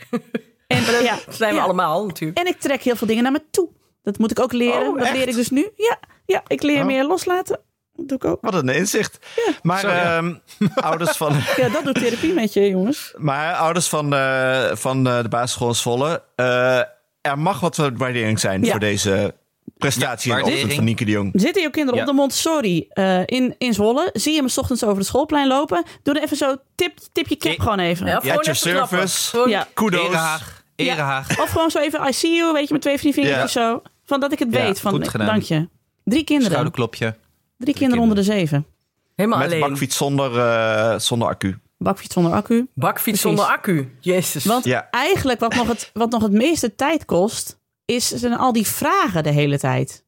Speaker 3: En, ja,
Speaker 4: Dat zijn we
Speaker 3: ja.
Speaker 4: allemaal natuurlijk.
Speaker 3: En ik trek heel veel dingen naar me toe. Dat moet ik ook leren.
Speaker 2: Oh,
Speaker 3: dat
Speaker 2: echt?
Speaker 3: leer ik dus nu. Ja, ja ik leer
Speaker 2: Oh.
Speaker 3: meer loslaten. Dat doe ik ook.
Speaker 2: Wat een inzicht. Maar,
Speaker 1: Zo, ja.
Speaker 2: ehm, ouders van,
Speaker 3: Ja, dat doet therapie met je, jongens.
Speaker 2: maar ouders van, eh, van eh, de basisschool in Zwolle. eh, er mag wat waardering zijn
Speaker 3: Ja.
Speaker 2: voor deze prestatie
Speaker 1: Ja,
Speaker 2: en opdracht van
Speaker 1: waardering.
Speaker 2: Nienke de Jong.
Speaker 3: Zitten je kinderen
Speaker 1: Ja.
Speaker 3: op de Montessori eh, in, in Zwolle? Zie je hem 's ochtends over het schoolplein lopen? Doe er even zo, tip, tip je kip
Speaker 1: Ik-
Speaker 3: gewoon even.
Speaker 4: Ja,
Speaker 3: Ja.
Speaker 4: of gewoon
Speaker 2: your
Speaker 4: even klappen.
Speaker 2: service.
Speaker 4: Gewoon-
Speaker 2: Kudos.
Speaker 1: Erehaag, erehaag.
Speaker 3: Of gewoon zo even, I see you, weet je, met twee van die vingertjes zo. Van dat ik het
Speaker 1: Ja,
Speaker 3: weet. Van,
Speaker 1: goed gedaan.
Speaker 3: dank je. Drie kinderen.
Speaker 1: Schouderklopje.
Speaker 3: Drie kinderen onder de zeven.
Speaker 4: Helemaal
Speaker 2: Met
Speaker 4: alleen.
Speaker 2: een bakfiets zonder, eh, zonder accu.
Speaker 3: Bakfiets zonder accu.
Speaker 4: Bakfiets
Speaker 3: Precies.
Speaker 4: zonder accu. Jezus.
Speaker 3: Want
Speaker 2: Ja.
Speaker 3: eigenlijk wat nog, het, wat nog het meeste tijd kost, is, zijn al die vragen de hele tijd.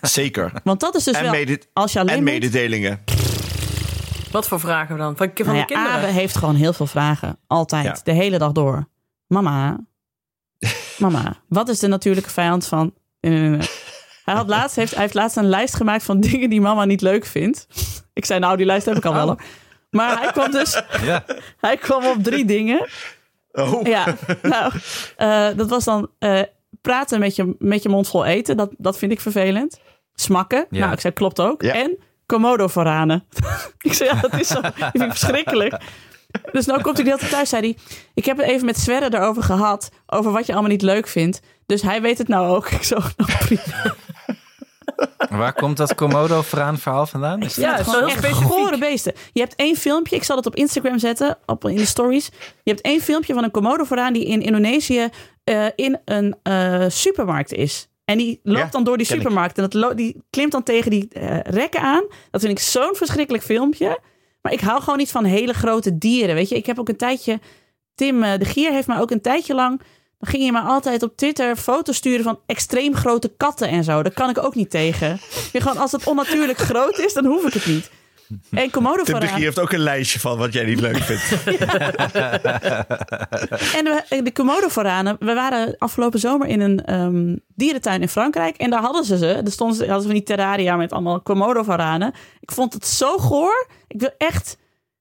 Speaker 2: Zeker.
Speaker 3: Want dat is dus
Speaker 2: En
Speaker 3: wel...
Speaker 2: mede-
Speaker 3: als je alleen
Speaker 2: en
Speaker 3: moet-
Speaker 2: mededelingen.
Speaker 4: Wat voor vragen we dan? Van, van
Speaker 3: Nou
Speaker 4: de
Speaker 3: ja,
Speaker 4: kinderen?
Speaker 3: Abe heeft gewoon heel veel vragen. Altijd.
Speaker 2: Ja.
Speaker 3: De hele dag door.
Speaker 4: [LAUGHS]
Speaker 3: Mama. Mama. Wat is de natuurlijke vijand van... Nee, nee, nee, nee. Hij, had laatst, [LAUGHS]
Speaker 4: Oh.
Speaker 3: heeft, hij heeft laatst een lijst gemaakt van dingen die mama niet leuk vindt. Ik zei, nou, die lijst heb ik al wel. hoor. Maar hij kwam dus
Speaker 1: Ja.
Speaker 3: [LAUGHS] hij kwam
Speaker 2: [LAUGHS]
Speaker 3: op drie dingen.
Speaker 2: Oh,
Speaker 3: Ja, nou, eh, dat was dan eh, praten met je, met je mond vol eten. Dat, dat vind ik vervelend. Smakken.
Speaker 1: Ja.
Speaker 3: Nou, ik zei, klopt ook.
Speaker 2: Ja.
Speaker 3: En Komodo-varanen. [LAUGHS] ik zei, ja, dat is
Speaker 2: [LAUGHS]
Speaker 3: zo. Ik vind het verschrikkelijk. Dus nou komt hij de hele tijd thuis, zei hij. Ik heb het even met Sverre erover gehad. Over wat je allemaal niet leuk vindt. Dus hij weet het nou ook. [LAUGHS] Ik zo, nou prima.
Speaker 1: Waar komt dat Komodo-veraan verhaal vandaan? Is
Speaker 4: Ja,
Speaker 3: Ja,
Speaker 4: het is
Speaker 3: gewoon
Speaker 4: wel
Speaker 3: echt
Speaker 4: heel specifiek.
Speaker 3: gore beesten. Je hebt één filmpje, ik zal dat op Instagram zetten, op, in de stories. Je hebt één filmpje van een komodo vooraan die in Indonesië eh, in een eh, supermarkt is. En die loopt
Speaker 2: Ja,
Speaker 3: dan door die
Speaker 2: ken ik.
Speaker 3: supermarkt. En dat lo- die klimt dan tegen die eh, rekken aan. Dat vind ik zo'n verschrikkelijk filmpje. Maar ik hou gewoon niet van hele grote dieren. Weet je, ik heb ook een tijdje. Tim eh, de Gier heeft mij ook een tijdje lang. Dan ging je maar altijd op Twitter foto's sturen van extreem grote katten en zo. Daar kan ik ook niet tegen. Ik vind gewoon, als het onnatuurlijk groot is, dan hoef ik het niet. En komodo
Speaker 2: Tim de Gier
Speaker 3: En
Speaker 2: heeft ook een lijstje van wat jij niet leuk vindt.
Speaker 3: we- eh, de komodo We waren afgelopen zomer in een ehm, dierentuin in Frankrijk. En daar hadden ze ze. Daar stonden ze, hadden ze van die terraria met allemaal komodo Ik vond het zo goor. Ik wil echt...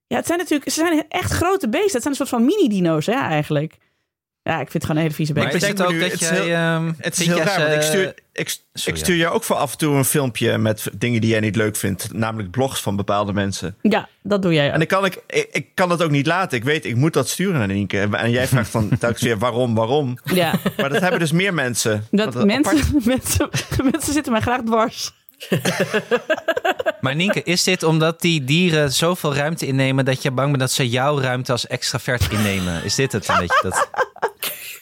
Speaker 3: Ja, het zijn natuurlijk... Ze zijn echt grote beesten. Het zijn een soort van mini-dino's, ja, eigenlijk. Ja, ik vind het gewoon een hele vieze
Speaker 1: Maar
Speaker 3: beest.
Speaker 1: is
Speaker 2: bedenk
Speaker 1: het
Speaker 2: me
Speaker 1: ook
Speaker 2: nu, het
Speaker 1: dat
Speaker 2: is
Speaker 1: jij...
Speaker 2: heel-
Speaker 1: ehm, eh,
Speaker 2: Het is
Speaker 1: vind
Speaker 2: heel
Speaker 1: jij
Speaker 2: raar, want
Speaker 1: ze-
Speaker 2: ik stuur, ik, ik
Speaker 1: Sorry,
Speaker 2: stuur jou ook voor af en toe een filmpje met dingen die jij niet leuk vindt. Namelijk blogs van bepaalde mensen.
Speaker 3: Ja, dat doe jij ook.
Speaker 2: En ik kan, ik, ik, ik kan het ook niet laten. Ik weet, ik moet dat sturen naar Nienke. En jij
Speaker 1: [LAUGHS]
Speaker 2: vraagt dan telkens weer waarom, waarom. [LAUGHS]
Speaker 3: Ja,
Speaker 2: Maar dat hebben dus meer mensen.
Speaker 3: dat
Speaker 2: Want apart-
Speaker 3: mensen, [LAUGHS] mensen, mensen zitten mij graag dwars.
Speaker 1: Maar Nienke, is dit omdat die dieren zoveel ruimte innemen... dat je bang bent dat ze jouw ruimte als extravert innemen? Is dit het een beetje? Dat...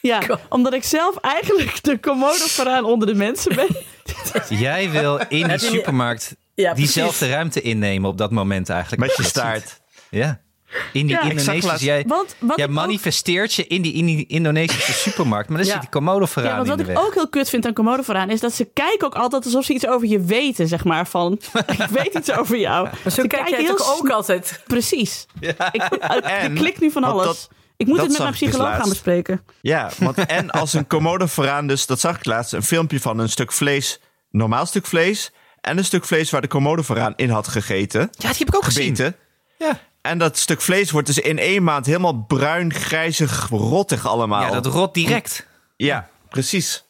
Speaker 3: Ja, omdat ik zelf eigenlijk de komodo onder de
Speaker 2: [LAUGHS]
Speaker 3: mensen ben.
Speaker 1: Jij wil in die
Speaker 4: je niet-
Speaker 1: supermarkt
Speaker 4: Ja, precies.
Speaker 1: diezelfde ruimte innemen op dat moment eigenlijk.
Speaker 2: Met
Speaker 1: [LAUGHS]
Speaker 2: je
Speaker 1: Dat
Speaker 2: staart.
Speaker 1: Ja. In die
Speaker 3: Ja, ik zag
Speaker 1: Indonesische...
Speaker 2: laatst-
Speaker 1: Jij,
Speaker 3: Want wat
Speaker 1: jij
Speaker 3: ik ook-
Speaker 1: manifesteert je in die, in die Indonesische supermarkt. Maar dan
Speaker 4: Ja.
Speaker 1: zit die komodo
Speaker 3: Ja,
Speaker 1: veraan
Speaker 3: want
Speaker 1: in
Speaker 3: wat
Speaker 1: de
Speaker 3: ik
Speaker 1: weg.
Speaker 3: ook heel kut vind aan komodo is dat ze kijken ook altijd alsof ze iets over je weten, zeg maar. Van, [LAUGHS] ik weet iets over jou.
Speaker 4: Maar zo
Speaker 3: Ze
Speaker 4: kijk jij
Speaker 3: kijken
Speaker 4: toch
Speaker 3: heel
Speaker 4: ook altijd.
Speaker 3: Precies. Ik, eh, ik,
Speaker 2: En-
Speaker 3: klik nu van
Speaker 2: want
Speaker 3: alles.
Speaker 2: dat-
Speaker 3: ik moet
Speaker 2: dat
Speaker 3: het met
Speaker 2: zag ik
Speaker 3: mijn
Speaker 2: dus
Speaker 3: psycholoog gaan
Speaker 2: laatst.
Speaker 3: bespreken.
Speaker 2: Ja, want en als een komodo vooraan, dus dat zag ik laatst, een filmpje van een stuk vlees, normaal stuk vlees, en een stuk vlees waar de komodo vooraan in had gegeten,
Speaker 1: Ja, die heb ik ook gezien.
Speaker 2: gebeten.
Speaker 1: Ja.
Speaker 2: En dat stuk vlees wordt dus in één maand helemaal bruin, grijzig, rottig allemaal.
Speaker 1: ja, dat rot direct.
Speaker 2: Ja, precies.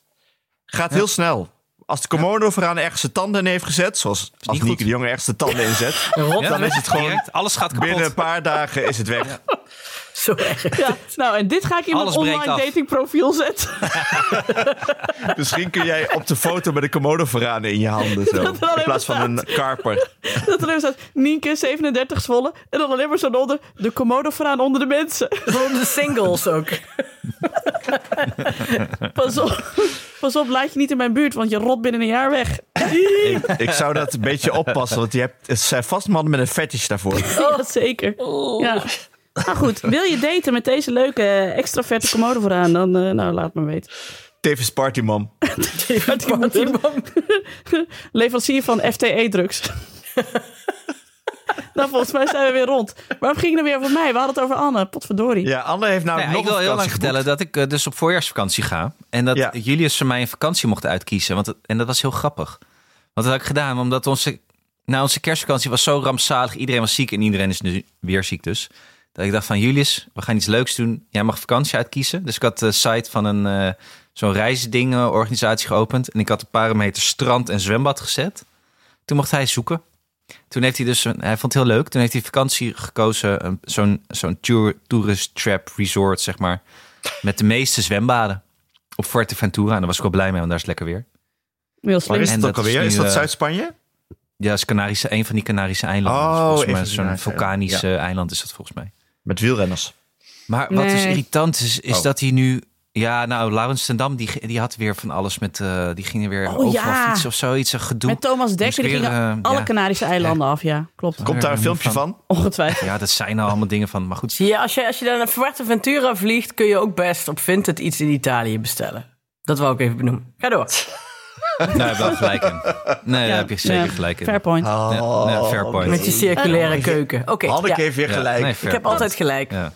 Speaker 2: Gaat heel snel. Als de komodo vooraan ergens zijn tanden in heeft gezet, zoals als
Speaker 1: goed.
Speaker 2: Nieke de Jonge ergens zijn tanden
Speaker 1: [LAUGHS]
Speaker 2: inzet,
Speaker 1: Ja,
Speaker 2: dan is het gewoon
Speaker 1: direct. Alles gaat kapot.
Speaker 2: binnen een paar dagen is het weg.
Speaker 4: [LAUGHS] Zo erg.
Speaker 3: Ja, nou, en dit ga ik in mijn
Speaker 1: Alles breekt
Speaker 3: online
Speaker 1: af.
Speaker 3: datingprofiel zetten. [LAUGHS]
Speaker 2: Misschien kun jij op de foto met de komodo vooraan in je
Speaker 1: [LAUGHS]
Speaker 2: handen zo,
Speaker 3: Dat er alleen
Speaker 2: in plaats van
Speaker 3: maar
Speaker 2: een karper.
Speaker 3: dat er even staat, Nienke, 37 Zwolle. En dan alleen maar zo'n onder, de komodo vooraan onder de mensen.
Speaker 4: Gewoon de singles ook.
Speaker 3: Pas op, pas op, laat je niet in mijn buurt, want je rot binnen een jaar weg.
Speaker 2: Ik, ik zou dat een beetje oppassen, want je hebt, het zijn vast mannen met een fetish daarvoor.
Speaker 1: [LAUGHS]
Speaker 3: [LAUGHS] Ja,
Speaker 4: Oh.
Speaker 3: zeker. Ja. Maar goed, wil je daten met deze leuke eh, extraverte commode vooraan, dan eh, nou, laat me
Speaker 4: [LAUGHS]
Speaker 3: weten.
Speaker 2: Tevens partymam.
Speaker 3: [LAUGHS] Leverancier van FTE-drugs. [LAUGHS] nou, volgens mij zijn we weer rond. Waarom ging het nou weer over mij? We hadden het over Anne, potverdorie.
Speaker 2: Ja, Anne heeft nou
Speaker 1: Nou ja,
Speaker 2: nog
Speaker 1: ik wil
Speaker 2: een
Speaker 1: heel lang
Speaker 2: vakantie
Speaker 1: vertellen dat ik eh, dus op voorjaarsvakantie ga. En dat
Speaker 2: Ja.
Speaker 1: Julius voor mij een vakantie mocht uitkiezen. Want het- en dat was heel grappig. Want dat had ik gedaan omdat onze, nou, onze kerstvakantie was zo rampzalig. Iedereen was ziek en iedereen is nu weer ziek dus. Dat ik dacht van Julius, we gaan iets leuks doen. Jij mag vakantie uitkiezen. Dus ik had de site van een eh, zo'n reisdingenorganisatie geopend. En ik had de parameter strand en zwembad gezet. Toen mocht hij zoeken. Toen heeft hij dus, een- hij vond het heel leuk. Toen heeft hij vakantie gekozen, een- zo'n zo'n tour- tourist trap resort, zeg maar. Met de meeste zwembaden op Fuerteventura. En daar was ik wel blij mee, want daar is het lekker weer.
Speaker 3: Heel
Speaker 2: Waar
Speaker 3: slim.
Speaker 2: is
Speaker 1: En
Speaker 2: dat
Speaker 1: dat
Speaker 2: ook alweer?
Speaker 1: is
Speaker 2: Is
Speaker 1: nu,
Speaker 2: dat
Speaker 1: eh,
Speaker 2: Zuid-Spanje?
Speaker 1: Ja, dat is Canarische, een van die Canarische eilanden.
Speaker 2: Oh,
Speaker 1: volgens
Speaker 2: even
Speaker 1: mij
Speaker 2: die
Speaker 1: zo'n
Speaker 2: Canarische
Speaker 1: vulkanisch eh, eiland is dat volgens mij.
Speaker 2: Met wielrenners.
Speaker 1: Maar wat dus
Speaker 3: Nee.
Speaker 1: irritant is, is
Speaker 2: Oh.
Speaker 1: dat hij nu... Ja, nou, Laurens ten Dam, die, die had weer van alles met... eh, die ging weer
Speaker 3: Oh,
Speaker 1: overal
Speaker 3: ja.
Speaker 1: fietsen of zoiets, een gedoe.
Speaker 3: Met Thomas Dekker
Speaker 1: Moest
Speaker 3: die
Speaker 1: weer,
Speaker 3: gingen
Speaker 1: eh,
Speaker 3: alle
Speaker 1: ja.
Speaker 3: Canarische eilanden af, ja. Klopt,
Speaker 2: Komt daar een
Speaker 1: Ja,
Speaker 2: filmpje
Speaker 1: van.
Speaker 2: van?
Speaker 3: ongetwijfeld.
Speaker 1: Ja, dat zijn nou allemaal dingen van... Maar goed,
Speaker 4: Zie je, als je, als je dan naar Fuerteventura vliegt, kun je ook best op Vinted iets in Italië bestellen. Dat wou ik even benoemen. Ga door.
Speaker 1: nou, daar heb je wel gelijk in. Nee, daar heb je zeker
Speaker 3: Ja,
Speaker 1: gelijk in. Ah.
Speaker 3: Fair point.
Speaker 2: Oh.
Speaker 1: Ja, ja, fair point.
Speaker 4: Met die circulaire keuken. Oké,
Speaker 2: Hanneke
Speaker 4: ja,
Speaker 2: heeft weer
Speaker 1: Ja,
Speaker 2: gelijk.
Speaker 1: nee, fair
Speaker 4: ik heb
Speaker 1: point.
Speaker 4: altijd gelijk.
Speaker 1: Ja.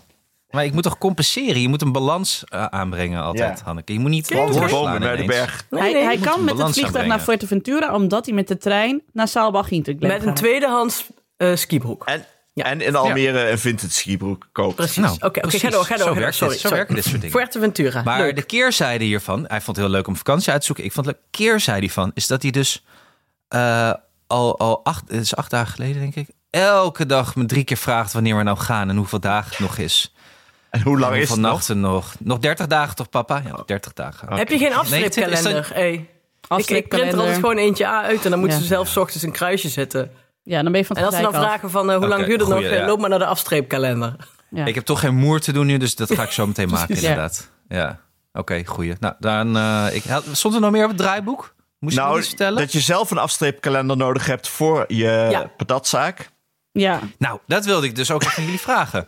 Speaker 1: Maar ik moet toch compenseren? Je moet een balans eh, aanbrengen altijd,
Speaker 2: Ja.
Speaker 1: Hanneke. Je moet niet
Speaker 2: Want de
Speaker 1: doorslaan
Speaker 2: bomen naar de
Speaker 1: ineens.
Speaker 2: berg.
Speaker 4: Nee,
Speaker 3: hij
Speaker 4: nee.
Speaker 3: hij kan
Speaker 1: een
Speaker 3: met het
Speaker 1: balans
Speaker 3: vliegtuig naar
Speaker 1: aanbrengen.
Speaker 3: Fuerteventura, omdat hij met de trein naar Saalbach ging.
Speaker 4: Met een tweedehands eh skibroek.
Speaker 2: En
Speaker 4: Ja.
Speaker 2: En in Almere een vintage skibroek koopt.
Speaker 4: Precies.
Speaker 1: Nou,
Speaker 4: Oké, oké,
Speaker 1: precies.
Speaker 4: ga door, ga door,
Speaker 1: Zo
Speaker 4: ga door.
Speaker 1: werkt
Speaker 4: Sorry,
Speaker 1: dit, zo
Speaker 4: sorry.
Speaker 1: werken dit soort dingen.
Speaker 4: Fuerteventura.
Speaker 1: Maar
Speaker 4: Leuk.
Speaker 1: de keerzijde hiervan, hij vond het heel leuk om vakantie uit te zoeken. Ik vond het leuk. Keerzijde hiervan is dat hij dus eh, al, al acht, het is acht dagen geleden, denk ik, elke dag me drie keer vraagt wanneer we nou gaan en hoeveel dagen het nog is.
Speaker 2: En hoe lang
Speaker 1: En
Speaker 2: is
Speaker 1: hoeveel
Speaker 2: het nog?
Speaker 1: nachten nog? nog? 30 dagen toch, papa? Ja, nog 30 dagen.
Speaker 4: Heb je geen
Speaker 1: Nee, het
Speaker 4: afstripkalender?
Speaker 1: is
Speaker 4: Hey. Ik, ik print er altijd gewoon eentje uit en dan moeten
Speaker 3: Ja.
Speaker 4: ze zelf 's ochtends een kruisje zetten.
Speaker 3: Ja, dan ben je van
Speaker 4: En
Speaker 3: het
Speaker 4: als ze dan
Speaker 3: gelijk af.
Speaker 4: vragen van eh, hoe lang
Speaker 1: Oké,
Speaker 4: duurt het nog,
Speaker 1: goeie,
Speaker 4: eh,
Speaker 1: ja.
Speaker 4: loop maar naar de afstreepkalender.
Speaker 3: Ja.
Speaker 1: Ik heb toch geen moer te doen nu, dus dat ga ik zo meteen maken,
Speaker 3: Ja.
Speaker 1: inderdaad. Ja, oké, goeie. Nou, dan, eh, ik, stond er nog meer op het draaiboek? Moest je nog
Speaker 2: Nou,
Speaker 1: iets vertellen?
Speaker 2: dat je zelf een afstreepkalender nodig hebt voor je
Speaker 4: Ja.
Speaker 2: patatzaak.
Speaker 3: Ja,
Speaker 1: Nou, dat wilde ik dus ook even aan jullie vragen.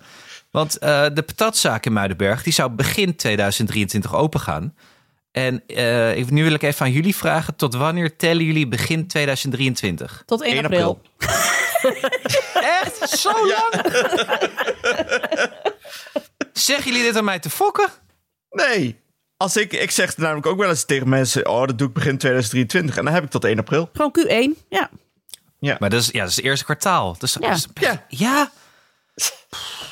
Speaker 1: Want eh, de patatzaak in Muidenberg, die zou begin 2023 opengaan. En eh, ik, nu wil ik even aan jullie vragen, tot wanneer tellen jullie begin 2023?
Speaker 3: tot 1,
Speaker 2: 1
Speaker 3: april.
Speaker 2: april.
Speaker 1: Echt? Zo lang? Zeggen jullie dit aan mij te fokken?
Speaker 2: Nee. Als ik, ik zeg namelijk ook wel eens tegen mensen: Oh, dat doe ik begin 2023. En dan heb ik tot 1 april.
Speaker 3: Gewoon Q1. Ja.
Speaker 1: Maar dat is, ja, dat is het eerste kwartaal. Dus dat
Speaker 3: Ja.
Speaker 1: is-
Speaker 2: Ja.
Speaker 1: ja,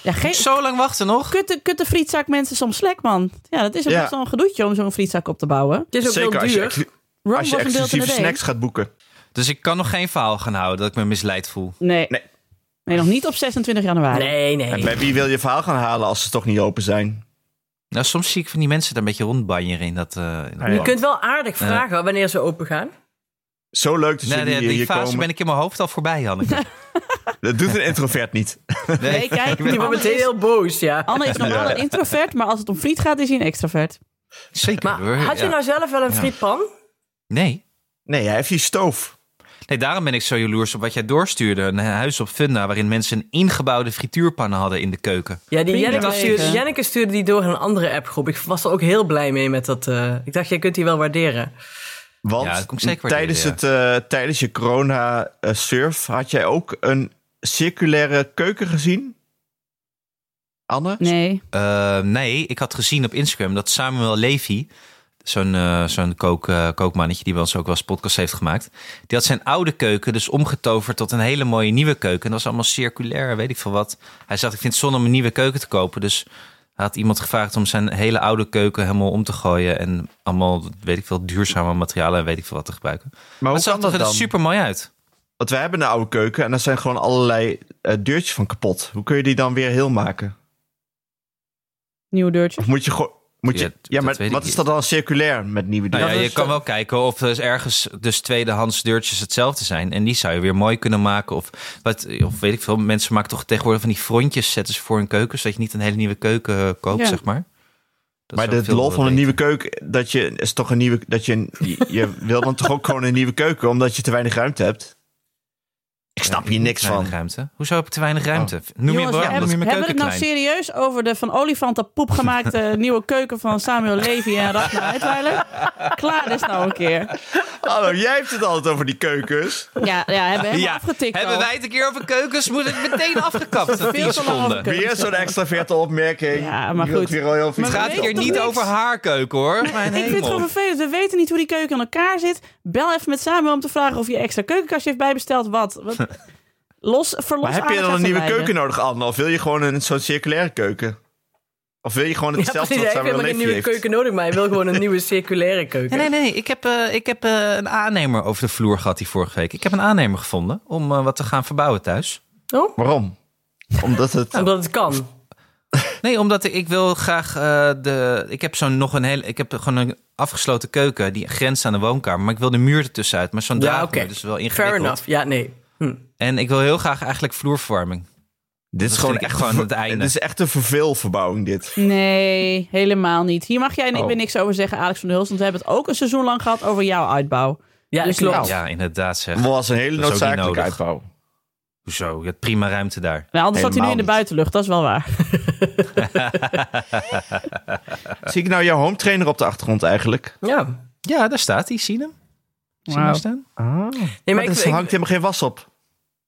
Speaker 3: ja geen
Speaker 1: zo lang wachten nog?
Speaker 3: kutte, kutte frietzak mensen soms slek, man. Ja, dat is ook
Speaker 2: Ja.
Speaker 3: best wel een gedoetje om zo'n frietzak op te bouwen.
Speaker 4: Het is ook
Speaker 2: Zeker
Speaker 4: heel
Speaker 2: als je,
Speaker 4: duur.
Speaker 2: exclu-
Speaker 3: Rum
Speaker 2: als je
Speaker 3: was een beeld in
Speaker 2: exclusieve
Speaker 3: de day.
Speaker 2: snacks gaat boeken.
Speaker 1: Dus ik kan nog geen verhaal gaan houden dat ik me misleid voel.
Speaker 3: Nee. nee.
Speaker 2: Nee.
Speaker 3: nog niet op 26 januari.
Speaker 4: Nee,
Speaker 2: En
Speaker 4: nee.
Speaker 2: bij wie wil je verhaal gaan halen als ze toch niet open zijn?
Speaker 1: Nou, soms zie ik van die mensen daar een beetje rondbanjeren in dat... eh, in dat
Speaker 2: ja.
Speaker 4: Je
Speaker 1: land.
Speaker 4: kunt wel aardig vragen wanneer ze open gaan.
Speaker 2: Zo leuk dat
Speaker 1: Nee,
Speaker 2: jullie
Speaker 1: die,
Speaker 2: hier
Speaker 1: die fase
Speaker 2: komen.
Speaker 1: ben ik in mijn hoofd al voorbij, Janneke.
Speaker 2: Dat doet een introvert niet.
Speaker 3: Nee, kijk.
Speaker 4: Ik ben
Speaker 3: Anne
Speaker 4: meteen
Speaker 3: is,
Speaker 4: heel boos, ja.
Speaker 3: Anne is normaal een introvert, maar als het om friet gaat, is hij een extrovert.
Speaker 1: Zeker.
Speaker 4: Maar
Speaker 1: hoor,
Speaker 4: had je
Speaker 1: ja.
Speaker 4: nou zelf wel een frietpan?
Speaker 1: Nee.
Speaker 2: Nee, hij heeft die stoof.
Speaker 1: Nee, daarom ben ik zo jaloers op wat jij doorstuurde. Een huis op Funda waarin mensen een ingebouwde frituurpannen hadden in de keuken.
Speaker 4: Ja, die
Speaker 3: Prima.
Speaker 4: Jenneke
Speaker 3: Ja.
Speaker 4: stuurde, Jenneke stuurde die door in een andere appgroep. Ik was er ook heel blij mee met dat. eh, ik dacht, jij kunt die wel waarderen.
Speaker 2: Want
Speaker 1: Ja, dat kom ik zeker
Speaker 2: tijdens, het,
Speaker 1: waarderen,
Speaker 2: eh, tijdens je corona-surf had jij ook een circulaire keuken gezien? Anne?
Speaker 3: Nee.
Speaker 1: Eh, nee, ik had gezien op Instagram dat Samuel Levy, zo'n eh, zo'n kook, eh, kookmannetje die bij ons ook wel eens podcast heeft gemaakt, die had zijn oude keuken dus omgetoverd tot een hele mooie nieuwe keuken. En dat was allemaal circulair, weet ik veel wat. Hij zegt, ik vind het zonde om een nieuwe keuken te kopen. Dus hij had iemand gevraagd om zijn hele oude keuken helemaal om te gooien en allemaal, weet ik veel, duurzame materialen en weet ik veel wat te gebruiken. Maar
Speaker 2: hoe
Speaker 1: het zag
Speaker 2: kan dat
Speaker 1: er
Speaker 2: dan?
Speaker 1: super mooi uit.
Speaker 2: Want wij hebben een oude keuken en daar zijn gewoon allerlei eh, deurtjes van kapot. Hoe kun je die dan weer heel maken?
Speaker 3: Nieuw deurtje.
Speaker 2: Of moet je gewoon... Moet je,
Speaker 1: Ja,
Speaker 2: ja,
Speaker 1: d- dat
Speaker 2: maar
Speaker 1: weet ik
Speaker 2: wat is
Speaker 1: niet.
Speaker 2: dat dan circulair met nieuwe
Speaker 1: Nou
Speaker 2: dingen?
Speaker 1: ja, je kan wel kijken of er ergens dus tweedehands deurtjes hetzelfde zijn. En die zou je weer mooi kunnen maken. Of, wat, of weet ik veel, mensen maken toch tegenwoordig van die frontjes zetten ze voor hun keuken. Zodat je niet een hele nieuwe keuken eh, koopt,
Speaker 3: Ja.
Speaker 1: zeg maar. Dat
Speaker 2: maar
Speaker 1: zou
Speaker 2: de
Speaker 1: veel eh,
Speaker 2: lol van een
Speaker 1: beter.
Speaker 2: nieuwe keuken, dat je is toch een nieuwe, dat je, een- je, je wil dan toch ook gewoon een nieuwe keuken, omdat je te weinig ruimte hebt. Ik snap hier niks
Speaker 1: Te weinig
Speaker 2: van.
Speaker 1: Ruimte. Hoezo heb ik te
Speaker 2: Oh.
Speaker 1: weinig ruimte? Noem je
Speaker 3: Jongens,
Speaker 1: waarom?
Speaker 3: hebben,
Speaker 1: Noem je mijn
Speaker 3: hebben we
Speaker 1: keuken
Speaker 3: het nou
Speaker 1: klein?
Speaker 3: serieus over de van olifanten poep gemaakte nieuwe keuken van Samuel Levy en Ragnar Uitweiler? Klaar is nou een keer.
Speaker 2: Hallo, jij hebt het altijd over die keukens.
Speaker 3: Ja, ja hebben we helemaal afgetikt
Speaker 1: hebben
Speaker 3: al.
Speaker 1: wij het een keer over keukens, moet het meteen afgekapt. Dat
Speaker 3: [LAUGHS] Veel
Speaker 1: tien
Speaker 3: te lang
Speaker 1: seconden.
Speaker 3: afgekapt.
Speaker 2: Weer zo'n extraverte opmerking.
Speaker 3: Ja, maar
Speaker 2: Je wilt
Speaker 3: goed.
Speaker 2: Weer al heel veel
Speaker 3: Maar
Speaker 1: Het
Speaker 3: we
Speaker 1: gaat
Speaker 3: weten
Speaker 1: hier
Speaker 3: toch
Speaker 1: niet
Speaker 3: niks?
Speaker 1: over haar keuken hoor. Mijn
Speaker 3: Ik vind het gewoon
Speaker 1: hemel.
Speaker 3: vervelend. We weten niet hoe die keuken aan elkaar zit. Bel even met Samuel om te vragen of je extra keukenkastje heeft bijbesteld. Wat?
Speaker 2: [LAUGHS]
Speaker 3: Wat- Los, verlos
Speaker 2: Maar heb je
Speaker 3: aandacht
Speaker 2: dan een
Speaker 3: uit
Speaker 2: nieuwe
Speaker 3: verwijden.
Speaker 2: keuken nodig, Anne? Of wil je gewoon een zo'n circulaire keuken? Of wil je gewoon
Speaker 4: Ja,
Speaker 2: hetzelfde
Speaker 4: precies.
Speaker 2: wat
Speaker 4: Ik heb
Speaker 2: Samuel
Speaker 4: helemaal geen
Speaker 2: Levy
Speaker 4: nieuwe
Speaker 2: heeft?
Speaker 4: keuken nodig, maar hij wil gewoon een nieuwe circulaire keuken.
Speaker 1: Nee, nee, nee. Ik heb, eh, ik heb eh, een aannemer over de vloer gehad die vorige week. Ik heb een aannemer gevonden om eh, wat te gaan verbouwen thuis.
Speaker 4: Oh?
Speaker 2: Waarom? Omdat het...
Speaker 4: Omdat het kan.
Speaker 1: Nee, omdat ik, ik wil graag eh, de... Ik heb zo'n nog een hele... Ik heb gewoon een afgesloten keuken die grenst aan de woonkamer. Maar ik wil de muur ertussen uit. Maar zo'n
Speaker 4: Ja,
Speaker 1: draad
Speaker 4: oké.
Speaker 1: dus wel
Speaker 4: Fair
Speaker 1: ingewikkeld.
Speaker 4: enough. Ja, nee. Hm.
Speaker 1: En ik wil heel graag eigenlijk vloerverwarming.
Speaker 2: dit
Speaker 1: dat
Speaker 2: is gewoon
Speaker 1: vind ik
Speaker 2: echt
Speaker 1: gewoon
Speaker 2: een-
Speaker 1: het einde.
Speaker 2: Dit is echt een verveelverbouwing, dit.
Speaker 3: Nee, helemaal niet. Hier mag jij en ik
Speaker 2: Oh.
Speaker 3: weer niks over zeggen, Alex van der Hulst. Want we hebben het ook een seizoen lang gehad over jouw uitbouw.
Speaker 4: Ja,
Speaker 3: Dus
Speaker 4: klopt.
Speaker 3: nou.
Speaker 1: Ja, inderdaad zeg.
Speaker 2: Het was een hele
Speaker 1: Dat is ook niet
Speaker 2: noodzakelijke
Speaker 1: nodig.
Speaker 2: uitbouw.
Speaker 1: Hoezo? Je hebt prima ruimte daar.
Speaker 3: Nou, anders zat hij nu
Speaker 2: Helemaal
Speaker 3: in de
Speaker 2: niet.
Speaker 3: buitenlucht, dat is wel waar.
Speaker 2: Zie ik nou jouw home trainer op de achtergrond eigenlijk?
Speaker 4: Ja.
Speaker 1: Ja, daar staat hij. Zie je hem? Zie je hem
Speaker 3: Wauw.
Speaker 1: staan?
Speaker 4: Nee, maar
Speaker 2: Maar
Speaker 4: ik,
Speaker 2: er
Speaker 4: ik-
Speaker 2: hangt helemaal geen was op.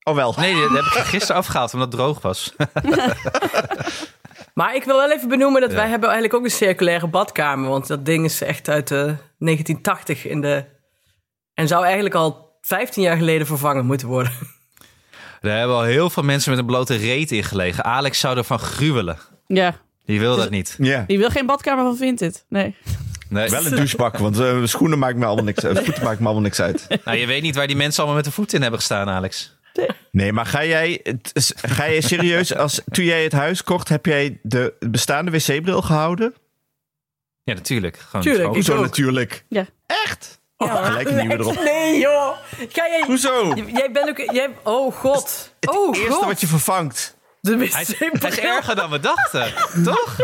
Speaker 2: Oh wel.
Speaker 1: Nee, dat heb ik gisteren afgehaald omdat het droog was. [LAUGHS]
Speaker 4: Maar ik wil wel even benoemen dat wij hebben eigenlijk ook een circulaire badkamer. Want dat ding is echt uit eh, 1980
Speaker 2: [LAUGHS]
Speaker 4: in de... En zou eigenlijk al 15 jaar geleden vervangen moeten worden.
Speaker 1: Daar hebben al heel veel mensen met een blote reet in gelegen. Alex zou ervan gruwelen.
Speaker 3: Ja,
Speaker 1: Die
Speaker 4: Dus
Speaker 1: wil dat niet.
Speaker 2: Ja.
Speaker 3: die wil geen badkamer van Vinted. Nee.
Speaker 1: Nee.
Speaker 2: [LAUGHS] Wel een douchebak, want eh, schoenen maakt me allemaal niks uit. Voeten maakt me allemaal niks uit.
Speaker 1: Nou, je weet niet waar die mensen allemaal met de voeten in hebben gestaan, Alex.
Speaker 2: Nee, maar ga jij, het is- ga jij
Speaker 4: [LAUGHS]
Speaker 2: serieus, als, toen jij het huis kocht, heb jij de bestaande wc-bril
Speaker 4: Oh,
Speaker 2: gehouden?
Speaker 1: Ja, natuurlijk. Gewoon
Speaker 4: Tuurlijk,
Speaker 1: gewoon-
Speaker 4: ik-
Speaker 2: Hoezo
Speaker 4: ook.
Speaker 2: natuurlijk?
Speaker 3: Ja.
Speaker 2: Echt?
Speaker 4: Ja.
Speaker 2: Oh, gelijk een nieuwe erop.
Speaker 4: Nee, joh. Ga jij...
Speaker 2: Hoezo?
Speaker 4: J- Jij bent ook... Jij, oh, god.
Speaker 2: Het
Speaker 4: oh,
Speaker 2: eerste
Speaker 4: god.
Speaker 2: wat je vervangt.
Speaker 4: De
Speaker 1: Hij
Speaker 4: [LAUGHS]
Speaker 1: is,
Speaker 4: wc-bril.
Speaker 1: hij is erger dan we
Speaker 4: [LAUGHS]
Speaker 1: dachten, toch?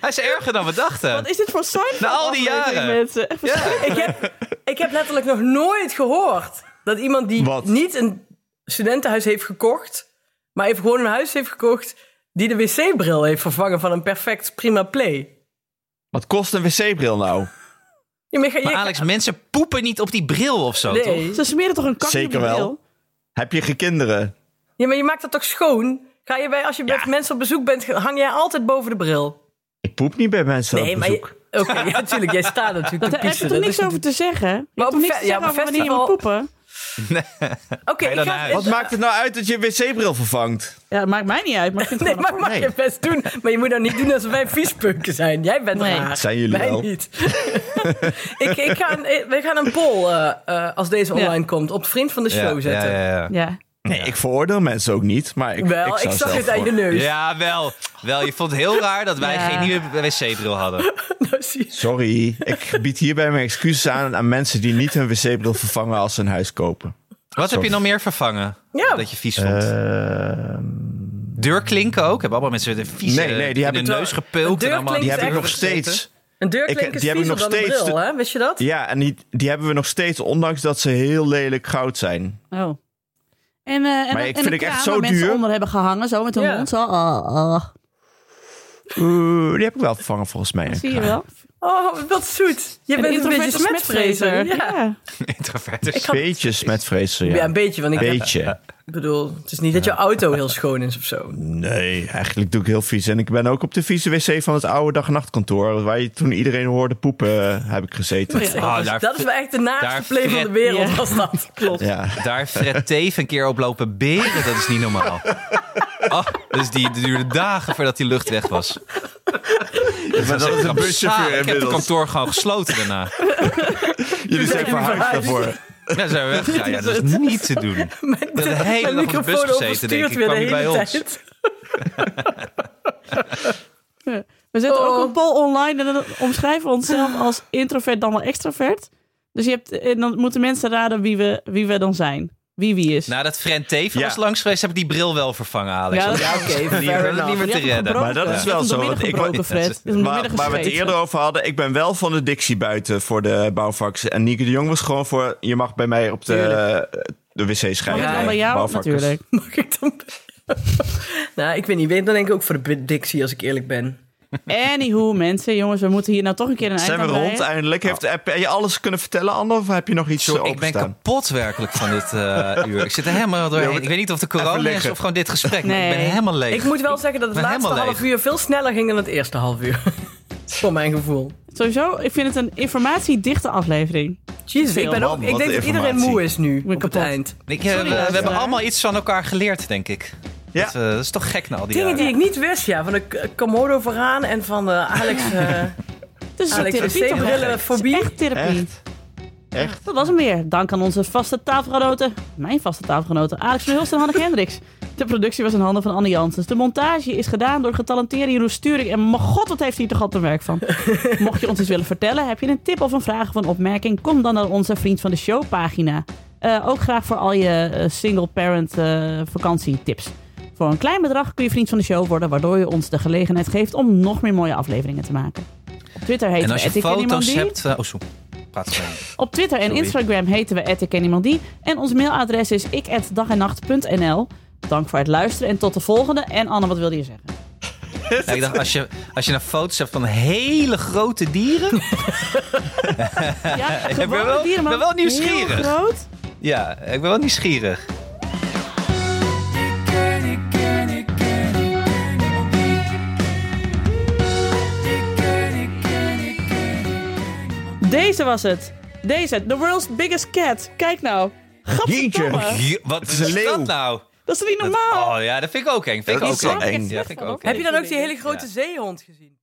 Speaker 1: Hij is erger dan we dachten.
Speaker 3: Wat is dit voor Seinfeld?
Speaker 1: Na al die
Speaker 3: aflevering,
Speaker 1: jaren.
Speaker 3: mensen? Echt verschrikkelijk.
Speaker 4: Ik heb, ik heb letterlijk nog nooit gehoord dat iemand die
Speaker 2: Wat?
Speaker 4: niet een studentenhuis heeft gekocht, maar even gewoon een huis heeft gekocht, die de wc-bril heeft vervangen van een perfect prima play.
Speaker 2: Wat kost een wc-bril nou?
Speaker 4: Ja, maar ga-
Speaker 1: Maar
Speaker 4: je-
Speaker 1: Alex, mensen poepen niet op die bril of zo, toch?
Speaker 4: nee.
Speaker 3: Ze smeren toch een kakje
Speaker 2: Zeker
Speaker 3: op je
Speaker 2: wel.
Speaker 3: bril?
Speaker 2: Heb je geen kinderen?
Speaker 4: [LAUGHS] ja, maar je maakt dat toch schoon? Ga je bij, als je met mensen op bezoek bent, hang jij altijd boven de bril?
Speaker 2: Ik poep niet bij mensen op
Speaker 4: maar. je-
Speaker 2: bezoek.
Speaker 4: Oké, ja, natuurlijk. Jij staat natuurlijk
Speaker 3: Daar
Speaker 4: te
Speaker 3: heb je
Speaker 4: piezen.
Speaker 3: toch
Speaker 4: dat is
Speaker 3: niks over
Speaker 4: natuurlijk-
Speaker 3: te zeggen? Je
Speaker 4: Maar
Speaker 3: hebt
Speaker 4: op
Speaker 3: toch niks
Speaker 4: fe-
Speaker 3: te
Speaker 4: ja,
Speaker 3: zeggen
Speaker 4: op
Speaker 3: over wanneer je moet
Speaker 4: festival-
Speaker 3: poeden?
Speaker 1: Ga
Speaker 4: Oké,
Speaker 1: je
Speaker 4: ik
Speaker 1: dan
Speaker 4: ga-
Speaker 1: naar
Speaker 2: Wat maakt het nou uit dat je een wc-bril vervangt?
Speaker 3: Ja, dat maakt mij niet uit, maar ik vind [LAUGHS] het
Speaker 4: Nee,
Speaker 3: gewoon
Speaker 4: maar mag
Speaker 2: Nee.
Speaker 4: je best doen. Maar je moet nou niet doen alsof wij viespunken zijn. Jij bent
Speaker 3: Nee.
Speaker 4: raar.
Speaker 2: Zijn jullie
Speaker 4: wij
Speaker 2: wel.
Speaker 4: niet. ik, ik ga een, eh, we gaan een poll, eh, eh, als deze online komt, op vriend van de
Speaker 1: Ja,
Speaker 4: show
Speaker 1: ja,
Speaker 4: zetten.
Speaker 1: ja, ja.
Speaker 3: Ja.
Speaker 2: Nee, ik veroordeel mensen ook niet, maar ik,
Speaker 4: Wel,
Speaker 2: ik
Speaker 4: ik,
Speaker 2: zou
Speaker 4: zag
Speaker 2: zelf
Speaker 4: het aan je
Speaker 2: voor-
Speaker 4: [LAUGHS] neus.
Speaker 1: Ja, wel. Wel, je vond het heel raar dat wij
Speaker 3: Ja.
Speaker 1: geen nieuwe wc-bril hadden.
Speaker 4: Nou, zie je.
Speaker 2: Sorry, ik bied hierbij mijn excuses aan aan mensen die niet hun wc-bril vervangen als ze een huis kopen.
Speaker 1: Wat heb je nog meer vervangen?
Speaker 4: Ja.
Speaker 1: Dat je vies vond.
Speaker 2: Ehm,
Speaker 1: Deurklinken ook? Hebben allemaal mensen met een vieze
Speaker 2: Nee, nee, die
Speaker 1: in
Speaker 2: hebben
Speaker 1: de
Speaker 2: het-
Speaker 1: neus gepulkt. En
Speaker 4: Deurklinken
Speaker 1: allemaal
Speaker 4: is
Speaker 2: die heb ik
Speaker 4: echt
Speaker 2: nog
Speaker 1: gezeten.
Speaker 2: steeds.
Speaker 4: Een deurklink
Speaker 2: Ik-
Speaker 4: is
Speaker 2: die hebben
Speaker 4: viezer
Speaker 2: nog
Speaker 4: dan een
Speaker 2: steeds
Speaker 4: bril,
Speaker 2: de-
Speaker 4: hè? Wist je dat?
Speaker 2: Ja, en die, die hebben we nog steeds, ondanks dat ze heel lelijk goud zijn.
Speaker 3: Oh. En, eh en,
Speaker 2: Maar ik
Speaker 3: en
Speaker 2: vind
Speaker 3: een
Speaker 2: ik echt
Speaker 3: kraan
Speaker 2: zo
Speaker 3: waar mensen
Speaker 2: duur.
Speaker 3: onder hebben gehangen, zo met hun
Speaker 4: Ja.
Speaker 3: mond. Zo, ah, ah.
Speaker 2: Oeh, die heb ik wel vervangen volgens mij.
Speaker 3: Zie je wel?
Speaker 4: Oh, wat zoet. Je
Speaker 3: Een
Speaker 4: bent een beetje
Speaker 3: introverte
Speaker 4: smetvrezer. Ja. Ja.
Speaker 1: [LAUGHS] Introverters.
Speaker 2: Beetje met ja.
Speaker 4: een beetje. Want ik
Speaker 2: Beetje.
Speaker 4: bedoel, het is niet dat je auto heel schoon is of zo.
Speaker 2: Nee, eigenlijk doe ik heel vies. En ik ben ook op de vieze wc van het oude dag- en nachtkantoor... waar je toen iedereen hoorde poepen, eh, heb ik gezeten.
Speaker 3: Ja.
Speaker 1: Ah,
Speaker 4: Dus
Speaker 1: daar-
Speaker 4: dat is wel echt de
Speaker 1: daar
Speaker 4: naaste play van de
Speaker 1: fret-
Speaker 4: wereld,
Speaker 3: Ja.
Speaker 4: was dat. [LAUGHS] Klopt.
Speaker 2: Ja. [LAUGHS]
Speaker 1: Daar Fred Teef een keer op lopen beren, dat is niet normaal. Oh, dus die duurde dagen voordat die lucht weg was.
Speaker 2: Maar dat is een buschauffeur
Speaker 1: Ik heb het
Speaker 2: inmiddels.
Speaker 1: kantoor gewoon gesloten daarna.
Speaker 2: Jullie zijn verhuisd
Speaker 4: verhuisd.
Speaker 2: daarvoor.
Speaker 1: Ja, zijn we weggegaan. Ja,
Speaker 2: [LAUGHS]
Speaker 1: dat is niet te doen.
Speaker 4: Mijn,
Speaker 1: de hele
Speaker 4: mijn
Speaker 1: dag op de bus
Speaker 4: microfoon
Speaker 1: gezeten,
Speaker 4: overstuurt
Speaker 1: denk ik.
Speaker 4: weer de
Speaker 1: Kwam
Speaker 4: hele
Speaker 1: niet bij ons.
Speaker 4: tijd. [LAUGHS]
Speaker 3: Ja. We zetten
Speaker 4: Oh.
Speaker 3: ook een poll online en dan omschrijven we onszelf als introvert dan wel extrovert. Dus je hebt, en dan moeten mensen raden wie we, wie we dan zijn. Wie wie
Speaker 2: Nou,
Speaker 3: is.
Speaker 1: Nadat Fred Teef
Speaker 2: Ja.
Speaker 1: was langs geweest, hebben die bril wel vervangen, Alex.
Speaker 3: Ja, dat-
Speaker 1: Want
Speaker 4: oké,
Speaker 1: die
Speaker 4: fair
Speaker 1: waren
Speaker 4: enough.
Speaker 1: niet meer te
Speaker 3: Je hebt hem
Speaker 1: redden.
Speaker 3: gebroken.
Speaker 2: Maar dat is
Speaker 3: Je hebt
Speaker 2: wel
Speaker 3: hem
Speaker 2: zo,
Speaker 3: doormidden
Speaker 2: want ik-
Speaker 3: gebroken, Fred. Je hebt hem
Speaker 2: Maar
Speaker 3: doormidden
Speaker 2: waar we het
Speaker 3: gescheten.
Speaker 2: eerder over hadden, ik ben wel van de dictie buiten voor de bouwvakkers. En Nieke de Jong was gewoon voor, je mag bij mij op de, de wc
Speaker 3: Mag
Speaker 2: schrijven.
Speaker 3: ik dan bij jou?
Speaker 2: Bouwvakkers.
Speaker 3: Natuurlijk.
Speaker 4: Mag ik dan... [LAUGHS] nou, ik weet niet. Dan denk ik ook voor de Dixie, als ik eerlijk ben.
Speaker 3: Anywho, mensen, jongens, we moeten hier nou toch een keer een eind
Speaker 2: Zijn we
Speaker 3: aan breien.
Speaker 2: rond eindelijk? Heeft, heb je alles kunnen vertellen, Anne? Of heb je nog iets
Speaker 1: Sorry, Nou. ik ben
Speaker 2: openstaan?
Speaker 1: kapot werkelijk van dit
Speaker 2: [LAUGHS]
Speaker 1: eh, uur. Ik zit er helemaal
Speaker 2: Ja,
Speaker 1: doorheen.
Speaker 2: maar-
Speaker 1: Ik weet niet of de
Speaker 2: Even
Speaker 1: corona is
Speaker 2: liggen.
Speaker 1: of gewoon dit gesprek. maar Ik ben
Speaker 3: Nee.
Speaker 1: helemaal leeg.
Speaker 4: Ik moet wel zeggen dat het
Speaker 1: ben
Speaker 4: laatste
Speaker 1: helemaal
Speaker 4: half
Speaker 1: leeg.
Speaker 4: uur veel sneller ging dan het eerste half uur. [LAUGHS] voor mijn gevoel.
Speaker 3: Sowieso, ik vind het een informatiedichte aflevering.
Speaker 4: Jezus,
Speaker 3: Veel.
Speaker 4: ik, ben ook,
Speaker 2: Man,
Speaker 4: ik
Speaker 2: wat
Speaker 4: denk dat iedereen
Speaker 2: informatie.
Speaker 4: moe is nu
Speaker 3: ben
Speaker 4: op het
Speaker 3: kapot.
Speaker 4: eind.
Speaker 1: Ik, eh, we- we,
Speaker 3: luisteraar.
Speaker 1: hebben allemaal iets van elkaar geleerd, denk ik.
Speaker 2: Ja.
Speaker 1: Dat, eh, dat is toch gek na al die
Speaker 4: Dingen die
Speaker 1: jaren.
Speaker 4: ik niet wist, ja. Van de K- Komodo vooraan en van de
Speaker 1: [LAUGHS]
Speaker 4: Alex... eh,
Speaker 3: Het is een
Speaker 4: Alex,
Speaker 3: therapie toch?
Speaker 4: wc-brillen,
Speaker 3: hè? Het is
Speaker 4: eh, fobie.
Speaker 3: Echt therapie.
Speaker 2: Echt? Echt?
Speaker 3: Dat was hem weer. Dank aan onze vaste tafelgenoten. Mijn vaste tafelgenoten. Alex van Hulst en Hanneke Hendricks. De productie was in handen van Anne Janssens. De montage is gedaan door getalenteerde Jeroen Sturing. En mijn god, wat heeft hij toch altijd een werk
Speaker 1: [LAUGHS]
Speaker 3: van. Mocht je ons iets willen vertellen, heb je een tip of een vraag of een opmerking... kom dan naar onze Vriend van de Show pagina. Eh, ook graag voor al je eh, single parent eh, vakantietips. Voor een klein bedrag kun je Vriend van de Show worden... waardoor je ons de gelegenheid geeft om nog meer mooie afleveringen te maken. Op Twitter heet
Speaker 1: En als
Speaker 3: we
Speaker 1: je foto's
Speaker 3: @ikkenniemandie.
Speaker 1: hebt... eh, oh, zo. Praat gewoon.
Speaker 3: Op Twitter en
Speaker 1: Sorry.
Speaker 3: Instagram heten we @ikkenniemandie en ons mailadres is ik@dagennacht.nl. Dank voor het luisteren en tot de volgende. En Anne, wat wilde je
Speaker 1: [LAUGHS]
Speaker 3: zeggen?
Speaker 1: Ja, ik dacht, als je, als je nou foto's hebt van hele grote dieren...
Speaker 3: Ja, gewone
Speaker 1: ben wel-
Speaker 3: dieren, maar
Speaker 1: ben wel nieuwsgierig.
Speaker 3: Heel groot.
Speaker 1: [LAUGHS] Ja, ik ben wel nieuwsgierig.
Speaker 5: Ik ken, ik ken, ik ken, ik ken niemand die. Ik ken, ik ken, ik ken, ik ken niemand
Speaker 3: Deze was het. Deze, the world's biggest cat. Kijk nou.
Speaker 2: Jeetje.
Speaker 3: Gadverdamme.
Speaker 1: Je- wat is,
Speaker 2: een leeuw.
Speaker 1: dat nou?
Speaker 3: Dat Dat is niet normaal.
Speaker 1: Oh ja, dat vind ik ook eng. Vind ik
Speaker 2: Dat
Speaker 1: ook
Speaker 2: is wel
Speaker 1: eng.
Speaker 2: eng.
Speaker 1: Ja, vind ik ook
Speaker 4: Heb je
Speaker 1: eng.
Speaker 4: dan ook die hele grote zeehond gezien?